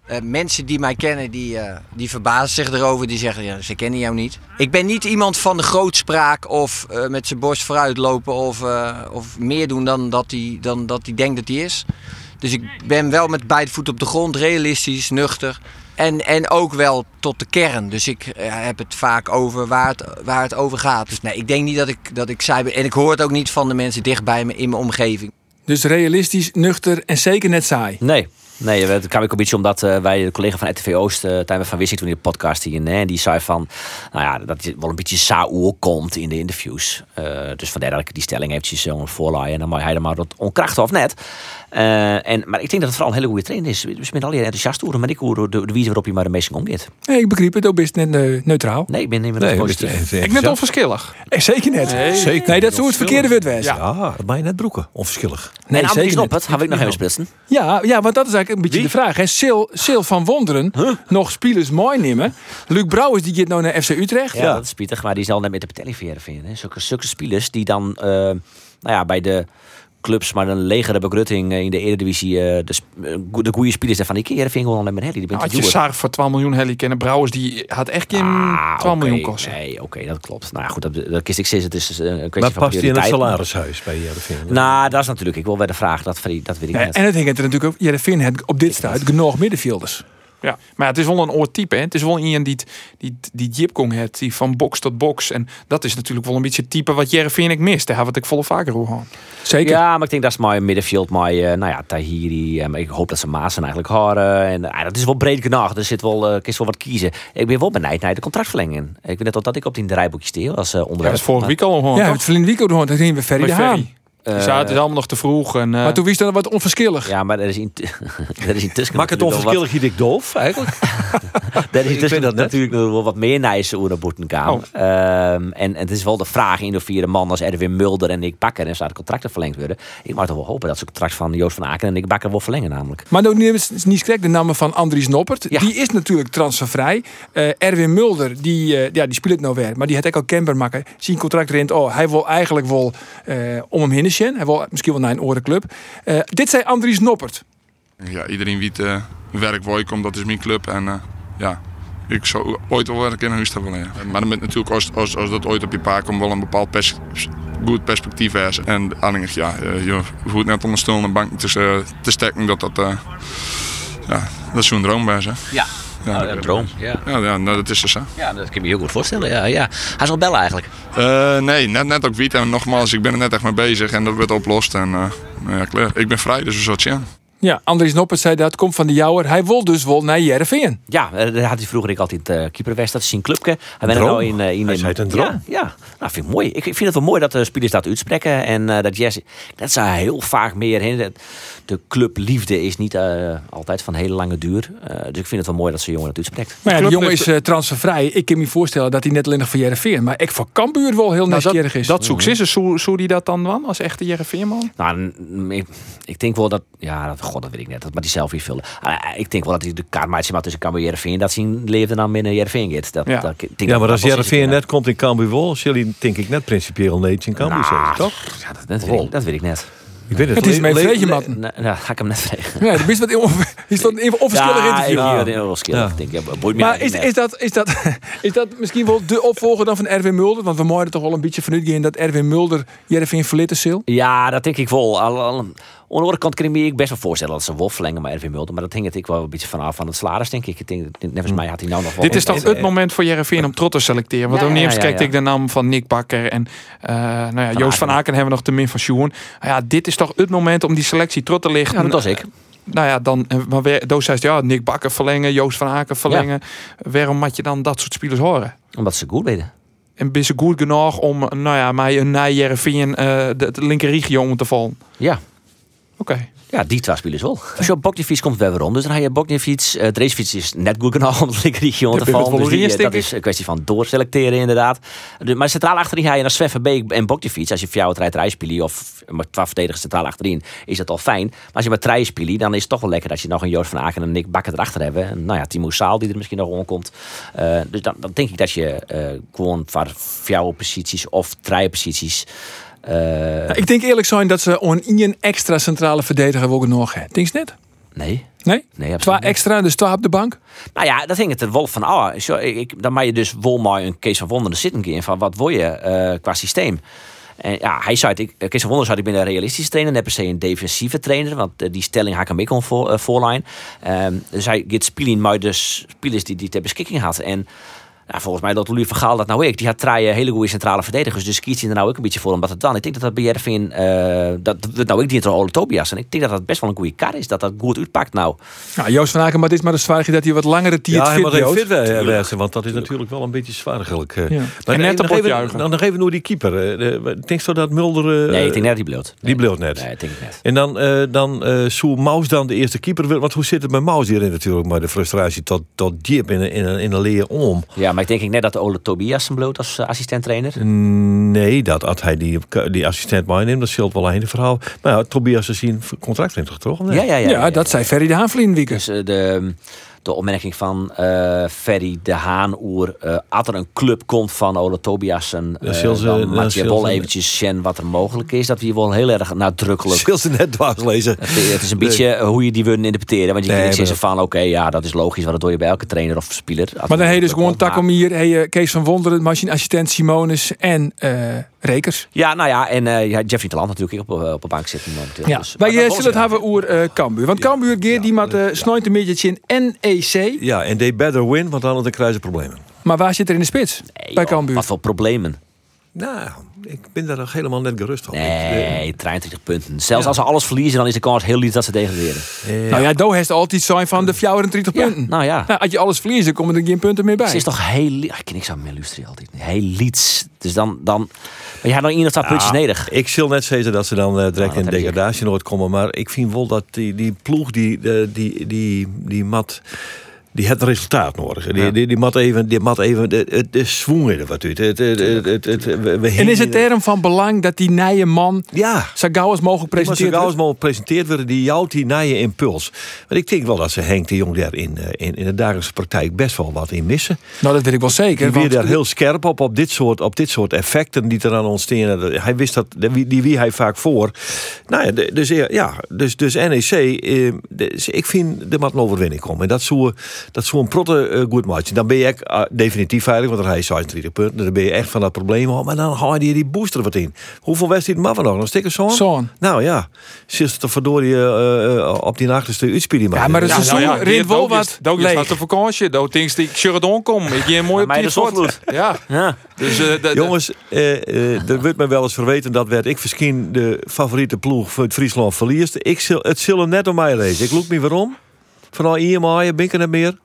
[SPEAKER 7] Eh, mensen die mij kennen, die, eh, die verbazen zich erover. Die zeggen, ja, ze kennen jou niet. Ik ben niet iemand van de grootspraak of eh, met zijn borst vooruit lopen of, eh, of meer doen dan dat hij dan dat hij denkt dat hij is. Dus ik ben wel met beide voeten op de grond, realistisch, nuchter. En, en ook wel tot de kern. Dus ik eh, heb het vaak over waar het, waar het over gaat. Dus nee, ik denk niet dat ik, dat ik saai ben. En ik hoor het ook niet van de mensen dichtbij me in mijn omgeving.
[SPEAKER 1] Dus realistisch, nuchter en zeker net saai.
[SPEAKER 5] Nee. Nee, dat kwam ik een beetje omdat eh, wij, de collega van RTV Oost, eh Tijmen van Wissing, toen in de podcast hier, en die zei van, nou ja, dat je wel een beetje saoer komt in de interviews. Eh, dus vandaar dat ik die stelling eventjes zo voorlaai en dan mag hij er maar wat onkrachten of net. Eh, en, maar ik denk dat het vooral een hele goede trainer is. Dus ik ben al heel enthousiast over, maar ik hoor de, de, wijze waarop je maar de meesting omgeet.
[SPEAKER 1] Nee, ik begreep het, Dob is net eh, neutraal.
[SPEAKER 5] Nee, ik ben niet meer
[SPEAKER 3] Nee,
[SPEAKER 5] positief.
[SPEAKER 2] Ik net onverschillig.
[SPEAKER 1] Eh, zeker net. Nee,
[SPEAKER 3] Zeker.
[SPEAKER 1] dat is hoe het verkeerde wordt wezen.
[SPEAKER 3] Ja, dat mij net broeken. Onverschillig.
[SPEAKER 1] Nee,
[SPEAKER 5] en
[SPEAKER 1] zeker
[SPEAKER 5] Andries
[SPEAKER 1] niet.
[SPEAKER 5] Noppert, heb ik nog even splitsen.
[SPEAKER 1] Ja, ja, want dat is eigenlijk een beetje de vraag. Hè. Sil, Sil van Wonderen, nog spelers mooi nemen. Luc Brouwers, die gaat nou naar FC Utrecht.
[SPEAKER 5] Ja, dat is pittig, maar die is al net met de betelling van Heerenveen, hè. Zulke, zulke spelers die dan eh, nou ja, bij de clubs, maar een legere begrutting eh, in de Eredivisie, eh de, sp- eh, go- de goede spelers daarvan, die keer Heerenveen gewoon al net met Helly. Die bent
[SPEAKER 2] Nou, Had
[SPEAKER 5] te
[SPEAKER 2] je
[SPEAKER 5] duwen.
[SPEAKER 2] Sarg voor 12 miljoen Helly kennen. Brouwers, die had echt geen
[SPEAKER 5] Ah,
[SPEAKER 2] 12 miljoen
[SPEAKER 5] oké,
[SPEAKER 2] kosten.
[SPEAKER 5] Nee, oké, dat klopt. Nou ja, goed, dat, dat kist ik zes. Het is dus, eh, een kwestie
[SPEAKER 3] Maar
[SPEAKER 5] van
[SPEAKER 3] past hij in het
[SPEAKER 5] prioriteit.
[SPEAKER 3] salarishuis bij eh, Jervin?
[SPEAKER 5] Nou, dat is natuurlijk, ik wil bij de vraag, dat, dat weet ik
[SPEAKER 1] Ja,
[SPEAKER 5] net.
[SPEAKER 1] en het hing het er natuurlijk op. Jereveen het op dit stuit genoeg middenvelders.
[SPEAKER 2] Ja, maar het is wel een oortype. Hè? Het is wel iemand die, het- die, die jipkong heeft, die van box tot box. En dat is natuurlijk wel een beetje het type wat Jerry ik mist. Daar wat ik volle vaker hoor. gewoon.
[SPEAKER 1] Zeker.
[SPEAKER 5] Ja, maar ik denk dat is mijn middenveld, mijn eh, nou ja, Tahiri. eh, maar ik hoop dat ze Maasen eigenlijk horen. En ah, dat is wel breed genoeg. Er zit wel, eh, kist wel wat kiezen. Ik ben wel benijd naar de contractverlenging. Ik weet net al dat ik op die draaiboekjes deel als eh,
[SPEAKER 2] Dat
[SPEAKER 5] onderwerp.
[SPEAKER 2] is vorige week al gewoon.
[SPEAKER 1] Ja, het verleden week ook nog, dat gingen we Ferry de Haan.
[SPEAKER 2] het is dus allemaal nog te vroeg. En, eh,
[SPEAKER 1] Eh, Maar toen wist dat wat onverschillig.
[SPEAKER 5] Ja, maar er is, in, er is intussen.
[SPEAKER 3] Maak
[SPEAKER 5] natuurlijk
[SPEAKER 3] het
[SPEAKER 5] nog
[SPEAKER 3] onverschillig, hier dik doof eigenlijk.
[SPEAKER 5] Wat, er is
[SPEAKER 3] weet
[SPEAKER 5] intussen
[SPEAKER 3] dat net.
[SPEAKER 5] natuurlijk nog wel wat meer nijse over de boetenkamer.
[SPEAKER 2] Oh.
[SPEAKER 5] Ehm, en, en het is wel de vraag in de vierde man als Erwin Mulder en Nick Bakker en zouden contracten verlengd worden. Ik mag toch wel hopen dat ze het contract van Joost van Aken en Nick Bakker wel verlengen namelijk.
[SPEAKER 1] Maar nou ook niet, niet correct de namen van Andries Noppert.
[SPEAKER 5] Ja.
[SPEAKER 1] Die is natuurlijk transfervrij. Eh, Erwin Mulder, die, eh, ja, die speelt nou weer. Maar die had ook al kenbaar maken. Zien contract rent. Oh, hij wil eigenlijk wel eh, om hem heen zijn. Hij wil misschien wel naar een orenclub. Eh, dit zei Andries Noppert.
[SPEAKER 4] Ja, iedereen weet eh, werk waar ik kom, dat is mijn club. En eh, ja, ik zou ooit wel werk in huis te willen. hebben. Maar dan moet natuurlijk, als, als, als dat ooit op je paard komt, wel een bepaald pers- goed perspectief is. En alleen, ja, eh, je hoeft net om een stoel en een bank te, eh, te stekken dat dat, eh, ja, dat is zo'n droom bij ze.
[SPEAKER 8] Ja.
[SPEAKER 4] Ja,
[SPEAKER 5] Ah,
[SPEAKER 8] Nou, ja, droom. Ja.
[SPEAKER 4] Ja, ja, nou, dat is dus zo.
[SPEAKER 8] ja, dat kan ik me heel goed voorstellen. Ja, ja. Hij zal bellen eigenlijk.
[SPEAKER 4] Eh, nee, net, net ook wiet. En nogmaals, ik ben er net echt mee bezig en dat wordt oplost. En eh, nou ja, klaar. Ik ben vrij, dus we zullen het zien.
[SPEAKER 1] Ja, Andries Noppert zei dat, komt van de jouwer. Hij wil dus wel naar Jereveen.
[SPEAKER 5] Ja, eh, daar had hij vroeger ik altijd eh keeper West, dat is zijn clubke. Hij ben er
[SPEAKER 3] Droom.
[SPEAKER 5] nou in, eh, in
[SPEAKER 3] Hij zei het een droom.
[SPEAKER 5] Ja, ja. Nou, vind ik mooi. Ik, ik vind het wel mooi dat de spelers dat uitspreken en eh, dat Jesse dat zou heel vaak meer heen. Dat- De clubliefde is niet eh, altijd van hele lange duur. Eh, dus ik vind het wel mooi dat zo'n jongen dat uitspreekt.
[SPEAKER 1] Maar ja, die
[SPEAKER 2] Klopt,
[SPEAKER 1] jongen
[SPEAKER 2] het-
[SPEAKER 1] is eh, transfervrij. Ik kan me voorstellen dat hij net alleen nog van Jereveen. Maar ik voor Kambuur wel heel
[SPEAKER 2] Nou,
[SPEAKER 1] nieuwsgierig
[SPEAKER 2] dat,
[SPEAKER 1] is.
[SPEAKER 2] dat zoek ze. Dus Zou zou die dat dan dan als echte Jereveenman?
[SPEAKER 5] Nou, n- ik, ik denk wel dat... Ja, dat, god, dat weet ik net. Dat, maar die zelf invullen. vullen. eh, ik denk wel dat hij de kaartmaatje maar tussen Cambuur en Jereveen... dat zien leefde dan binnen Jereveen gaat. Dat,
[SPEAKER 2] Ja.
[SPEAKER 5] dat, ik nou- denk
[SPEAKER 3] Ja, maar
[SPEAKER 5] dat
[SPEAKER 3] als
[SPEAKER 5] dat wel
[SPEAKER 3] Jereveen
[SPEAKER 5] zit in,
[SPEAKER 3] net komt in Cambuur Wol, zullen die denk ik net principieel nee in Cambuur
[SPEAKER 5] Nou,
[SPEAKER 3] zeggen, toch?
[SPEAKER 5] eh, Ja, dat, dat, weet ik, dat weet ik net.
[SPEAKER 3] Ik weet het.
[SPEAKER 1] Het is
[SPEAKER 3] Le-
[SPEAKER 1] mijn
[SPEAKER 3] le-
[SPEAKER 1] vreetje,
[SPEAKER 3] le-
[SPEAKER 1] man.
[SPEAKER 5] Nou, nou, ga ik hem net vragen.
[SPEAKER 1] Ja, dat is wat is wat een onverschillig interview.
[SPEAKER 5] Ja, ik- ja, wel skillig,
[SPEAKER 3] Ja.
[SPEAKER 5] ik denk ik. Ja, boeit me
[SPEAKER 1] Maar is,
[SPEAKER 5] eigenlijk
[SPEAKER 1] is,
[SPEAKER 5] net.
[SPEAKER 1] dat, is, dat, is dat misschien wel de opvolger dan van Erwin Mulder? Want we mogen er toch wel een beetje vanuit gaan dat Erwin Mulder Jereveen verlitten zil.
[SPEAKER 5] Ja, dat denk ik wel. Al, al, aan de andere kant kan ik me ik best wel voorstellen dat ze Wolf verlengen, maar Erwin Mulder. Maar dat hing het ik wel een beetje vanaf van het salaris, denk ik. ik denk, dat- net als mij had hij nou nog wel...
[SPEAKER 2] Dit is toch het moment voor Jereveen om trots te selecteren. Want
[SPEAKER 5] Ja,
[SPEAKER 2] ook
[SPEAKER 5] ja,
[SPEAKER 2] niet eens
[SPEAKER 5] ja,
[SPEAKER 2] kijkt
[SPEAKER 5] ja.
[SPEAKER 2] ik de naam van Nick Bakker en eh, nou ja, Joost van
[SPEAKER 5] Aken.
[SPEAKER 2] Aken hebben we nog te min van Sjoen. Nou ja, dit is toch het moment om die selectie trots te lichten.
[SPEAKER 5] Ja, dat was ik.
[SPEAKER 2] Nou ja, dan, eh, maar weer- Doos zei ja, Nick Bakker verlengen, Joost van Aken verlengen. Waarom moet je dan dat soort spelers horen?
[SPEAKER 5] Omdat ze goed deden.
[SPEAKER 2] En ben ze goed genoeg om, nou ja, mij een na Jereveen eh de, de linker regio om te vallen?
[SPEAKER 5] Ja.
[SPEAKER 2] Oké.
[SPEAKER 5] Ja, die twee spelers wel. Als je op Boknifiets komt, weer weer om. Dus dan ga je Boknifiets. eh Dreesfiets is net goed genoeg om de linkerregio
[SPEAKER 2] Ja,
[SPEAKER 5] te vallen.
[SPEAKER 2] Wilfried
[SPEAKER 5] Dus die,
[SPEAKER 2] Wolleries,
[SPEAKER 5] eh,
[SPEAKER 2] denk
[SPEAKER 5] dat is een kwestie van doorselecteren, inderdaad. Dus, maar centraal achterin ga je naar Sveffenbeek en Boknifiets. Als je voor jou het rijdt rijspelen of maar twaalf verdedigers centraal achterin, is dat al fijn. Maar als je maar rijdt spelen, dan is het toch wel lekker dat je nog een Joost van Aken en een Nick Bakker erachter hebben. En, nou ja, Timo Saal die er misschien nog rondkomt. Eh dus dan, dan denk ik dat je eh, gewoon voor jouw posities of rijposities. eh
[SPEAKER 1] Ik denk eerlijk zijn dat ze on een extra centrale verdediger willen nog hebben. Denk je net?
[SPEAKER 5] nee.
[SPEAKER 1] Nee?
[SPEAKER 5] Nee,
[SPEAKER 1] Twee
[SPEAKER 5] absoluut niet.
[SPEAKER 1] extra, dus twee op de bank.
[SPEAKER 5] Nou ja, dat hing het er wel van af. Zo, ik, ik- dan maak je dus wel maar een Kees van Wonderen zitten in van wat wil je eh, qua systeem. En ja, hij zei, het, ik, eh, Kees van Wonderen zei ik ben een realistische trainer, net per se een defensieve trainer, want eh, die stelling haak hem ik om voor, eh, voorlijn. Ehm, dus hij gaat spelen maar de spelers die die ter beschikking had. En nou, volgens mij dat Louis van Gaal dat nou ik. Die had drie eh, hele goede centrale verdedigers. Dus kiest hij er nou ook een beetje voor. Omdat het dan. Ik denk dat dat bij Jervin, eh, dat dat nou ik die het Ole Tobias. En ik denk dat dat best wel een goede kar is. Dat dat goed uitpakt nou.
[SPEAKER 1] Nou, Joost van Aken, maar dit is maar de zwaarheid dat hij wat langere tier
[SPEAKER 3] Ja,
[SPEAKER 1] fit
[SPEAKER 3] helemaal geen
[SPEAKER 1] houdt.
[SPEAKER 3] fit wij- wijzen, want dat is natuurlijk wel een beetje zwaargelijk. eh.
[SPEAKER 1] Ja.
[SPEAKER 3] Maar
[SPEAKER 2] En net
[SPEAKER 3] even-
[SPEAKER 2] een
[SPEAKER 3] nog
[SPEAKER 2] potje
[SPEAKER 3] even,
[SPEAKER 2] juichen.
[SPEAKER 3] dan nog even door die keeper. eh, de- Denk je zo dat Mulder... eh,
[SPEAKER 5] Nee, ik denk net dat die bloot.
[SPEAKER 3] Die bleef net.
[SPEAKER 5] Nee, ik denk het net.
[SPEAKER 3] En dan, eh dan eh zou Maus dan de eerste keeper willen. Want hoe zit het met Maus hierin natuurlijk? Maar de frustratie tot, tot diep in, een- in, een- in een leer om.
[SPEAKER 5] Ja, maar ik denk ik net dat Ole Tobias hem bloot als eh, assistent-trainer.
[SPEAKER 3] Nee, dat had hij die, die assistent meeneemt. Dat scheelt wel een hele verhaal. Maar ja, Tobias is hier een contract in toch? toch? Of
[SPEAKER 5] Ja,
[SPEAKER 3] niet?
[SPEAKER 5] ja, ja.
[SPEAKER 1] Ja, dat zei Ferry de Haanvlien weekend.
[SPEAKER 5] Dus eh, de, de opmerking van eh, Ferry de Haan oer eh als er een club komt van Ole Tobias en eh,
[SPEAKER 3] Dan zullen ze-
[SPEAKER 5] dan
[SPEAKER 3] dan
[SPEAKER 5] maakt je
[SPEAKER 3] zullen
[SPEAKER 5] wel
[SPEAKER 3] ze-
[SPEAKER 5] eventjes Shen wat er mogelijk is. Dat we hier wel heel erg nadrukkelijk
[SPEAKER 3] Scheelt ze net dwaas lezen.
[SPEAKER 5] Het, het is een beetje eh, hoe je die willen interpreteren. Want je
[SPEAKER 3] Nee,
[SPEAKER 5] kunt niet
[SPEAKER 3] maar
[SPEAKER 5] zeggen van, oké, ja, dat is logisch. Want dat doe je bij elke trainer of speler.
[SPEAKER 1] Maar dan heet dus gewoon
[SPEAKER 5] om.
[SPEAKER 1] Takomier, hey, eh, Kees van Wonderen, machineassistent Simonis en eh, Rekers.
[SPEAKER 5] Ja, nou ja, en eh, ja, Jeffrey Talant natuurlijk ook op, eh, op de bank zitten momenteel.
[SPEAKER 1] Ja,
[SPEAKER 5] Dus,
[SPEAKER 1] maar
[SPEAKER 5] maar
[SPEAKER 1] je
[SPEAKER 5] dat
[SPEAKER 1] zult het
[SPEAKER 5] was-
[SPEAKER 1] hebben over eh, Cambuur. Want Cambuur, Geer, die maakt eh snoeit een beetje in NEC.
[SPEAKER 3] Ja, en they better win, want anders krijgen ze problemen.
[SPEAKER 1] Maar waar zit er in de spits?
[SPEAKER 5] Nee,
[SPEAKER 1] bij
[SPEAKER 5] joh,
[SPEAKER 1] Cambuur.
[SPEAKER 5] Wat voor problemen.
[SPEAKER 3] Nou, ik ben daar nog helemaal net gerust op. Ik,
[SPEAKER 5] Nee, 23 eh, punten. Zelfs als ze alles verliezen, dan is de kans heel lief dat ze degraderen.
[SPEAKER 3] eh, eh,
[SPEAKER 1] Nou ja, Doe heeft altijd zijn van de 34
[SPEAKER 5] Ja,
[SPEAKER 1] punten.
[SPEAKER 5] nou ja.
[SPEAKER 1] Nou, als je alles verliest, dan komen er geen punten meer
[SPEAKER 5] Ze
[SPEAKER 1] bij.
[SPEAKER 5] is toch heel... li- Ah, Ik ken niks aan mijn illustratie altijd. Heel liets. Dus dan... dan maar je had nog één of twee puntjes nedig.
[SPEAKER 3] eh, Ah, Ik zul net zeggen dat ze dan eh, direct
[SPEAKER 5] dat
[SPEAKER 3] in
[SPEAKER 5] Nou, heb ik.
[SPEAKER 3] degradatie nooit komen. Maar ik vind wel dat die, die ploeg, die, eh, die, die, die mat, die het resultaat nodig. Die, die, die mat even, die mat even, de, de, de zwoeng in er wat uit. Het, het, het, het, het- we- we
[SPEAKER 1] En
[SPEAKER 3] hingen-
[SPEAKER 1] is het term van belang dat die nije man
[SPEAKER 3] Ja.
[SPEAKER 1] zo gauw als mogelijk
[SPEAKER 3] Maar zo
[SPEAKER 1] presenteert?
[SPEAKER 3] gauw als maar presenteerd worden, die jouwt die naar je impuls. Maar ik denk wel dat ze Henk de Jong daar in, eh, in, in de dagelijkse praktijk best wel wat in missen.
[SPEAKER 1] Nou, dat weet ik wel zeker.
[SPEAKER 3] Die weer
[SPEAKER 1] want-
[SPEAKER 3] daar heel scherp op, op dit soort, op dit soort effecten die eraan ontstaan. Dat- Hij wist dat, die- die wie hij vaak voor. Nou ja, de- E dus, ja, ja, dus, dus NEC, eh, dus ik vind er moet een overwinning komen. En dat zou dat zo'n protte eh, goed match. Dan ben je echt eh, definitief veilig, want dan ga je 36 punten. Dan ben je echt van dat probleem af. Maar dan haal je die booster wat in. Hoeveel wedstrijden maar nog? Nog stikken zo'n?
[SPEAKER 1] Zo'n.
[SPEAKER 3] Nou ja, zit er verdorie eh, eh, op die achterste uitspieling.
[SPEAKER 1] Ja, maar dat is dus-
[SPEAKER 3] Ja,
[SPEAKER 1] een seizoen
[SPEAKER 2] nou ja,
[SPEAKER 1] rint wel wat
[SPEAKER 2] Dat
[SPEAKER 1] leeg.
[SPEAKER 2] is wat de vakantie. Dat ding die ik shirt onkom. Ik ging mooi op
[SPEAKER 5] Maar mij
[SPEAKER 2] die
[SPEAKER 5] de zon
[SPEAKER 2] fort. Ja.
[SPEAKER 5] Ja.
[SPEAKER 2] Dus eh, dat-
[SPEAKER 3] Jongens, eh, eh, er wordt mij wel eens verweten dat werd ik misschien de favoriete ploeg van het Friesland verliest. Ik zul, het zullen net om mij lezen. Ik loop me waarom. Vooral IMA, Binken en meer.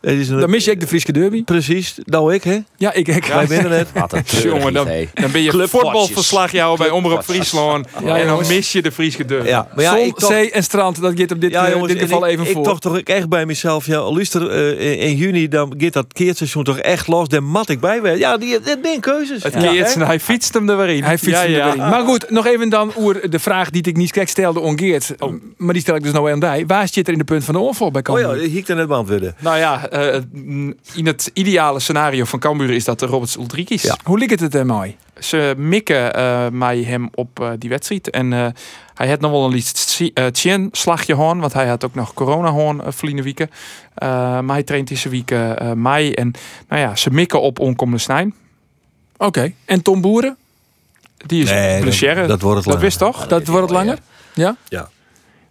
[SPEAKER 3] Het is een,
[SPEAKER 1] Dan mis je ook de Frieske derby.
[SPEAKER 3] Precies, nou ik hè.
[SPEAKER 1] Ja, ik ik.
[SPEAKER 3] Wij winnen het.
[SPEAKER 5] Wat een treurig
[SPEAKER 2] Jongen, dan,
[SPEAKER 5] idee.
[SPEAKER 2] dan ben je
[SPEAKER 5] Clubpotjes.
[SPEAKER 2] voetbalverslagjouwer bij Omroep Friesland. en dan
[SPEAKER 1] jongens.
[SPEAKER 2] mis je de Friese deur.
[SPEAKER 3] Ja, maar ja,
[SPEAKER 1] Zon,
[SPEAKER 3] ik toch-
[SPEAKER 1] zee en strand, dat gaat op dit,
[SPEAKER 3] ja,
[SPEAKER 1] eh,
[SPEAKER 3] jongens,
[SPEAKER 1] dit
[SPEAKER 3] en
[SPEAKER 1] geval
[SPEAKER 3] ik-
[SPEAKER 1] even
[SPEAKER 3] ik,
[SPEAKER 1] voor.
[SPEAKER 3] toch toch ook echt bij mezelf. Ja, luister, eh, in- in juni dan gaat dat keertseizoen toch echt los. Dan mat ik bij. weer. Ja, die, dit zijn keuzes.
[SPEAKER 2] Het
[SPEAKER 3] Ja,
[SPEAKER 2] keert,
[SPEAKER 3] hè?
[SPEAKER 2] en hij fietst hem er weer in.
[SPEAKER 1] Hij fietst
[SPEAKER 2] ja,
[SPEAKER 1] hem
[SPEAKER 2] ja.
[SPEAKER 1] erin. Maar goed, nog even dan oer de vraag die ik niet gek stelde ongeert. Maar die stel ik dus nou aan die. Waar zit er in de punt van de oorval bij
[SPEAKER 3] Oh
[SPEAKER 1] Cambuur?
[SPEAKER 3] ja, hiek er net beantwoorden.
[SPEAKER 2] Nou ja, eh, mm, in het ideale scenario van Cambuur is dat de Roberts Ulrich is.
[SPEAKER 1] Hoe liep het er mooi?
[SPEAKER 2] Ze mikken eh, mij hem op eh, die wedstrijd. En eh, hij had nog wel een liefst chin slagje hoorn. Want hij had ook nog corona hoorn uh, wieken. Eh, maar hij traint deze week eh, eh, mei. En nou ja, ze mikken op onkomende snijn.
[SPEAKER 1] Oké. En Tom Boeren?
[SPEAKER 2] Die is
[SPEAKER 3] Nee,
[SPEAKER 2] een
[SPEAKER 3] dat-
[SPEAKER 2] blessure.
[SPEAKER 3] dat wordt het
[SPEAKER 2] Dat
[SPEAKER 3] langer.
[SPEAKER 2] wist toch?
[SPEAKER 1] Dat wordt het langer? Ja?
[SPEAKER 3] Ja.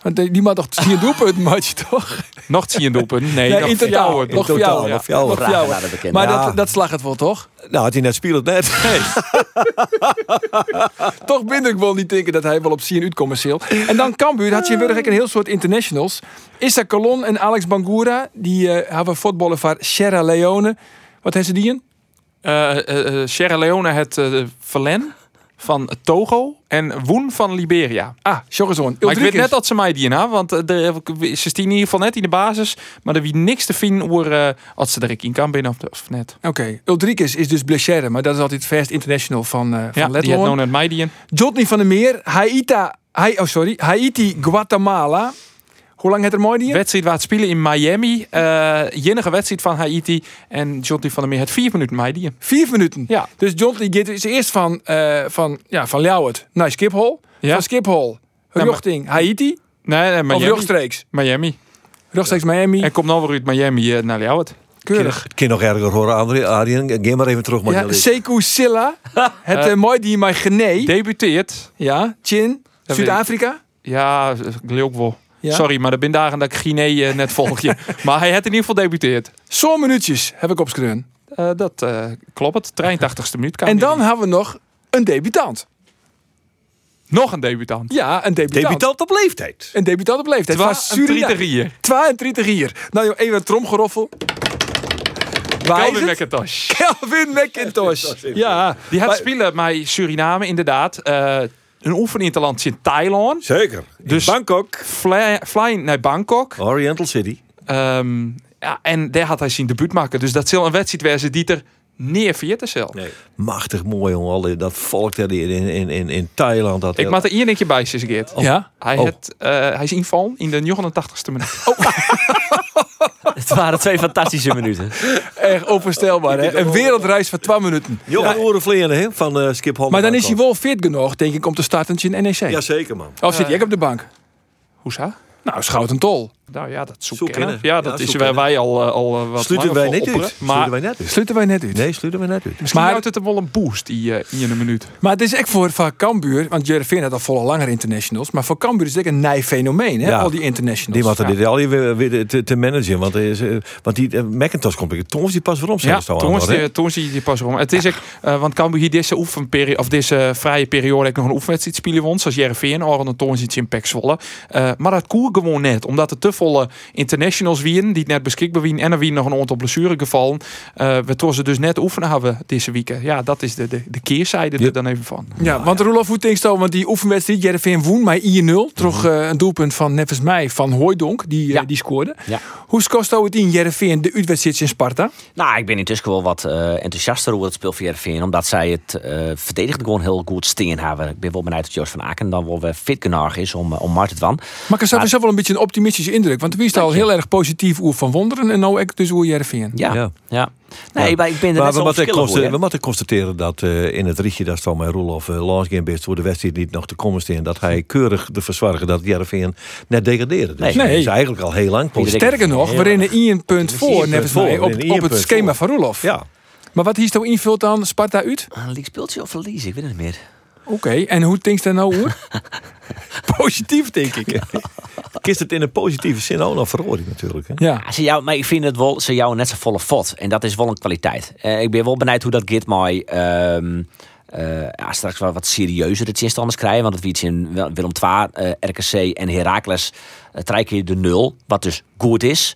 [SPEAKER 1] Want die die maakt toch vier doelpunten, maatje, toch?
[SPEAKER 2] Nog zie je doelpunt. Nee,
[SPEAKER 1] Nee,
[SPEAKER 2] nog
[SPEAKER 1] in
[SPEAKER 2] voor jou,
[SPEAKER 1] totaal.
[SPEAKER 2] hoor.
[SPEAKER 1] Nog voor
[SPEAKER 3] totaal,
[SPEAKER 1] jou.
[SPEAKER 3] nog voor jou.
[SPEAKER 1] Nog voor
[SPEAKER 5] Vragen
[SPEAKER 1] jou.
[SPEAKER 5] naar de bekende.
[SPEAKER 1] Maar
[SPEAKER 3] Ja.
[SPEAKER 1] dat, dat slag het wel, toch?
[SPEAKER 3] Nou, had hij net speelt net.
[SPEAKER 1] Toch ben ik wel niet denken dat hij wel op zien uitkomt zil. En dan Cambuur, had je in Wurgenk een heel soort internationals. Issa Colon en Alex Bangura, die eh, hebben voetballen van Sierra Leone. Wat hebben ze die in?
[SPEAKER 2] Eh, eh, eh, Sierra Leone het eh Verlen van Togo en Woen van Liberia.
[SPEAKER 1] Ah, Jorgenson.
[SPEAKER 2] Maar ik weet net dat ze mij die in hebben, want eh, er- ze staan in ieder geval net in de basis. Maar er wie niks te vinden over eh, als ze er ik in kan binnen of, of net.
[SPEAKER 1] Oké, Ulrikes is dus blessure, maar dat is altijd het first international van, eh
[SPEAKER 2] Ja,
[SPEAKER 1] van
[SPEAKER 2] die had nou
[SPEAKER 1] Letland.
[SPEAKER 2] net mij die in.
[SPEAKER 1] Jotny van der Meer, Haita, Hai, oh sorry, Haiti, Guatemala. Hoe lang het er mooi die? in?
[SPEAKER 2] Wedstrijd waar het spelen in Miami. eh jinnige wedstrijd van Haiti. En John van der Meer het vier minuten mij die in.
[SPEAKER 1] Vier minuten.
[SPEAKER 2] Ja.
[SPEAKER 1] Dus Jotny is eerst van, eh van, ja, van Ljouwert naar Schiphol.
[SPEAKER 2] Ja.
[SPEAKER 1] Van Schiphol,
[SPEAKER 2] maar-
[SPEAKER 1] richting Haiti.
[SPEAKER 2] Nee, nee
[SPEAKER 1] Of
[SPEAKER 2] Miami.
[SPEAKER 1] rechtstreeks.
[SPEAKER 2] Miami.
[SPEAKER 1] Rechtstreeks Miami.
[SPEAKER 2] En komt nou weer uit Miami eh, naar Ljouwert.
[SPEAKER 1] Keurig.
[SPEAKER 3] Ik kan nog erger horen, André. Arjen, ga maar even terug. Maar
[SPEAKER 1] Ja, Sekou Silla. Het eh, mooi die mij genee.
[SPEAKER 2] Debuteert.
[SPEAKER 1] Ja, Chin.
[SPEAKER 2] weet
[SPEAKER 1] Zuid-Afrika.
[SPEAKER 2] Ja, ik leeuw ook wel.
[SPEAKER 1] Ja.
[SPEAKER 2] Sorry, maar er zijn dagen dat ik Guinea eh, net volg je. maar hij had in ieder geval debuteerd.
[SPEAKER 1] Zo'n minuutjes heb ik op screen.
[SPEAKER 2] Eh, dat eh, klopt. 83ste minuut. kan
[SPEAKER 1] En
[SPEAKER 2] weer.
[SPEAKER 1] dan hebben we nog een debutant.
[SPEAKER 2] nog een debutant.
[SPEAKER 1] Ja, een debutant.
[SPEAKER 3] Debutant op leeftijd.
[SPEAKER 1] Een debutant op leeftijd.
[SPEAKER 2] Twa-
[SPEAKER 1] Van
[SPEAKER 2] een
[SPEAKER 1] Suriname.
[SPEAKER 2] 33
[SPEAKER 1] 32 hier. Nou joh, even het tromgeroffel. Waar is
[SPEAKER 2] Calvin
[SPEAKER 1] het?
[SPEAKER 2] McIntosh.
[SPEAKER 1] Kelvin McIntosh. Ja,
[SPEAKER 2] Die had
[SPEAKER 1] Maar-
[SPEAKER 2] spelen bij Suriname inderdaad. Eh een oefeninterland in Thailand.
[SPEAKER 3] Zeker.
[SPEAKER 2] Dus-
[SPEAKER 3] Bangkok.
[SPEAKER 2] Fly, fly naar Bangkok.
[SPEAKER 3] Oriental City.
[SPEAKER 2] Ehm, ja, en daar had hij zijn debuut maken. Dus dat zal een wedstrijd wezen die er neerveert zelf.
[SPEAKER 3] Machtig mooi, jongen. Al die- Dat volk daar die in, in, in, in Thailand. Dat
[SPEAKER 2] Ik maak er hier een keer bij, Sisgeert.
[SPEAKER 1] Ja?
[SPEAKER 2] Hij,
[SPEAKER 3] Oh.
[SPEAKER 2] had, eh, hij is invallen in de 89ste minuut.
[SPEAKER 5] Het waren twee fantastische minuten.
[SPEAKER 1] echt onvoorstelbaar. Hè? Een wereldreis van 12 minuten.
[SPEAKER 3] Johan Orenvleeren, hè? Van eh Skip Holland.
[SPEAKER 1] Maar dan is hij wel fit genoeg, denk ik, om te starten in NEC.
[SPEAKER 3] Jazeker, man.
[SPEAKER 1] Of zit jij op de bank?
[SPEAKER 2] Hoezo?
[SPEAKER 1] Nou, schout en tol.
[SPEAKER 2] Nou ja, dat zoek
[SPEAKER 3] Zoek
[SPEAKER 2] kennen.
[SPEAKER 3] kennen.
[SPEAKER 2] Ja,
[SPEAKER 3] Ja,
[SPEAKER 2] dat is
[SPEAKER 3] zoek
[SPEAKER 2] waar
[SPEAKER 3] kennen.
[SPEAKER 2] wij al, eh, al eh, wat
[SPEAKER 3] Sluiten
[SPEAKER 2] langer
[SPEAKER 3] wij
[SPEAKER 2] voor
[SPEAKER 3] net
[SPEAKER 2] opperen.
[SPEAKER 3] uit.
[SPEAKER 2] Maar
[SPEAKER 3] Sluiten wij net uit.
[SPEAKER 1] Sluiten wij net uit.
[SPEAKER 3] Nee, sluiten wij net uit.
[SPEAKER 2] Maar
[SPEAKER 1] Maar-
[SPEAKER 2] houdt het hem wel een boost die eh, hier in een minuut.
[SPEAKER 1] Maar het is echt voor, voor Cambuur, want Jereveen had al volle langer internationals. Maar voor Cambuur is het echt een nij fenomeen, hè?
[SPEAKER 3] Ja.
[SPEAKER 1] al die internationals.
[SPEAKER 3] Die wat er
[SPEAKER 1] Ja.
[SPEAKER 3] dit al hier weer, weer te, te managen. Want, hij is, eh, want die eh, Macintosh komt ik. Toms die pas weer om zijn.
[SPEAKER 2] Ja,
[SPEAKER 3] is het al
[SPEAKER 2] toen
[SPEAKER 3] allemaal,
[SPEAKER 2] zie
[SPEAKER 3] hè?
[SPEAKER 2] je- toen zie je die pas om. Het is echt, eh, want Cambuur hier deze oefenperiode of deze vrije periode ook nog een oefenwedstrijd spelen won, zoals Jereveen, Aron en Toorn in Pek Zwolle. Eh, maar dat koer gewoon net, omdat er te volle internationals wien, die het net beschikbaar wien, en er wien nog een aantal blessure gevallen. Eh, we trossen ze dus net oefenen hebben deze weekend. Ja, dat is de, de, de keerzijde er
[SPEAKER 3] Ja.
[SPEAKER 2] dan even van.
[SPEAKER 1] Ja, want Roelof, hoe denk je dan? Want die oefenwedstrijd, Jereveen woen maar 1-0. Toch eh, een doelpunt van nevens mij, van Hooidonk, die, eh,
[SPEAKER 2] Ja.
[SPEAKER 1] die scoorde.
[SPEAKER 5] Ja.
[SPEAKER 1] Hoe scoort het in Jereveen de uitwedstrijd in Sparta?
[SPEAKER 5] Nou, ik ben intussen wel wat eh, enthousiaster over het spel van Heerenveen. Omdat zij het eh verdedigend gewoon heel goed steen hebben. Ik ben wel benieuwd of Joost van Aken dan wel weer fit genoeg is om, eh, om Marten te van.
[SPEAKER 1] Maar ik heb
[SPEAKER 5] Maar-
[SPEAKER 1] zelf wel een beetje een optimistische indruk. indruk. Want toen wist al heel erg positief oer van Wonderen. En nou ook dus oer Jervin.
[SPEAKER 5] Ja,
[SPEAKER 3] Ja.
[SPEAKER 5] ja. Nee,
[SPEAKER 3] Ja.
[SPEAKER 5] maar ik ben er net
[SPEAKER 3] Maar we
[SPEAKER 5] zo
[SPEAKER 3] moeten,
[SPEAKER 5] verschillen voor,
[SPEAKER 3] consta- we
[SPEAKER 5] hè.
[SPEAKER 3] moeten constateren dat eh, in het rietje dat van mijn Roelof uh, Lansgeen best voor de wedstrijd niet nog te komen staan. Dat hij keurig ervoor zorgde dat Jarvin net degradeerde. Dus
[SPEAKER 5] Nee.
[SPEAKER 3] dat
[SPEAKER 1] Nee.
[SPEAKER 3] is eigenlijk al heel lang positief.
[SPEAKER 1] Oh, Sterker nog, we rennen één punt voor, net als
[SPEAKER 3] voor,
[SPEAKER 1] mij,
[SPEAKER 3] we
[SPEAKER 1] op,
[SPEAKER 3] rennen
[SPEAKER 1] op
[SPEAKER 3] één
[SPEAKER 1] het
[SPEAKER 3] punt
[SPEAKER 1] schema
[SPEAKER 3] voor.
[SPEAKER 1] van Roelof.
[SPEAKER 3] Ja,
[SPEAKER 1] Maar wat hier zo invult dan Sparta uit?
[SPEAKER 5] Ah, Een leak speeltje of verlies, ik weet het niet meer.
[SPEAKER 1] Oké, en hoe denkt dat nou oer? positief, denk ik.
[SPEAKER 3] kist het in een positieve zin ook nog verhoring natuurlijk. Hè?
[SPEAKER 1] Ja.
[SPEAKER 5] Ja, ze jou, maar ik vind het wel, ze jou net zo volle fot. En dat is wel een kwaliteit. Eh, ik ben wel benieuwd hoe dat Git mij ehm, eh, ja, straks wel wat serieuzer de tegenstanders krijgen. Want het wiet in Wil- Willem II, eh, RKC en Heracles eh, drie keer de nul. Wat dus goed is.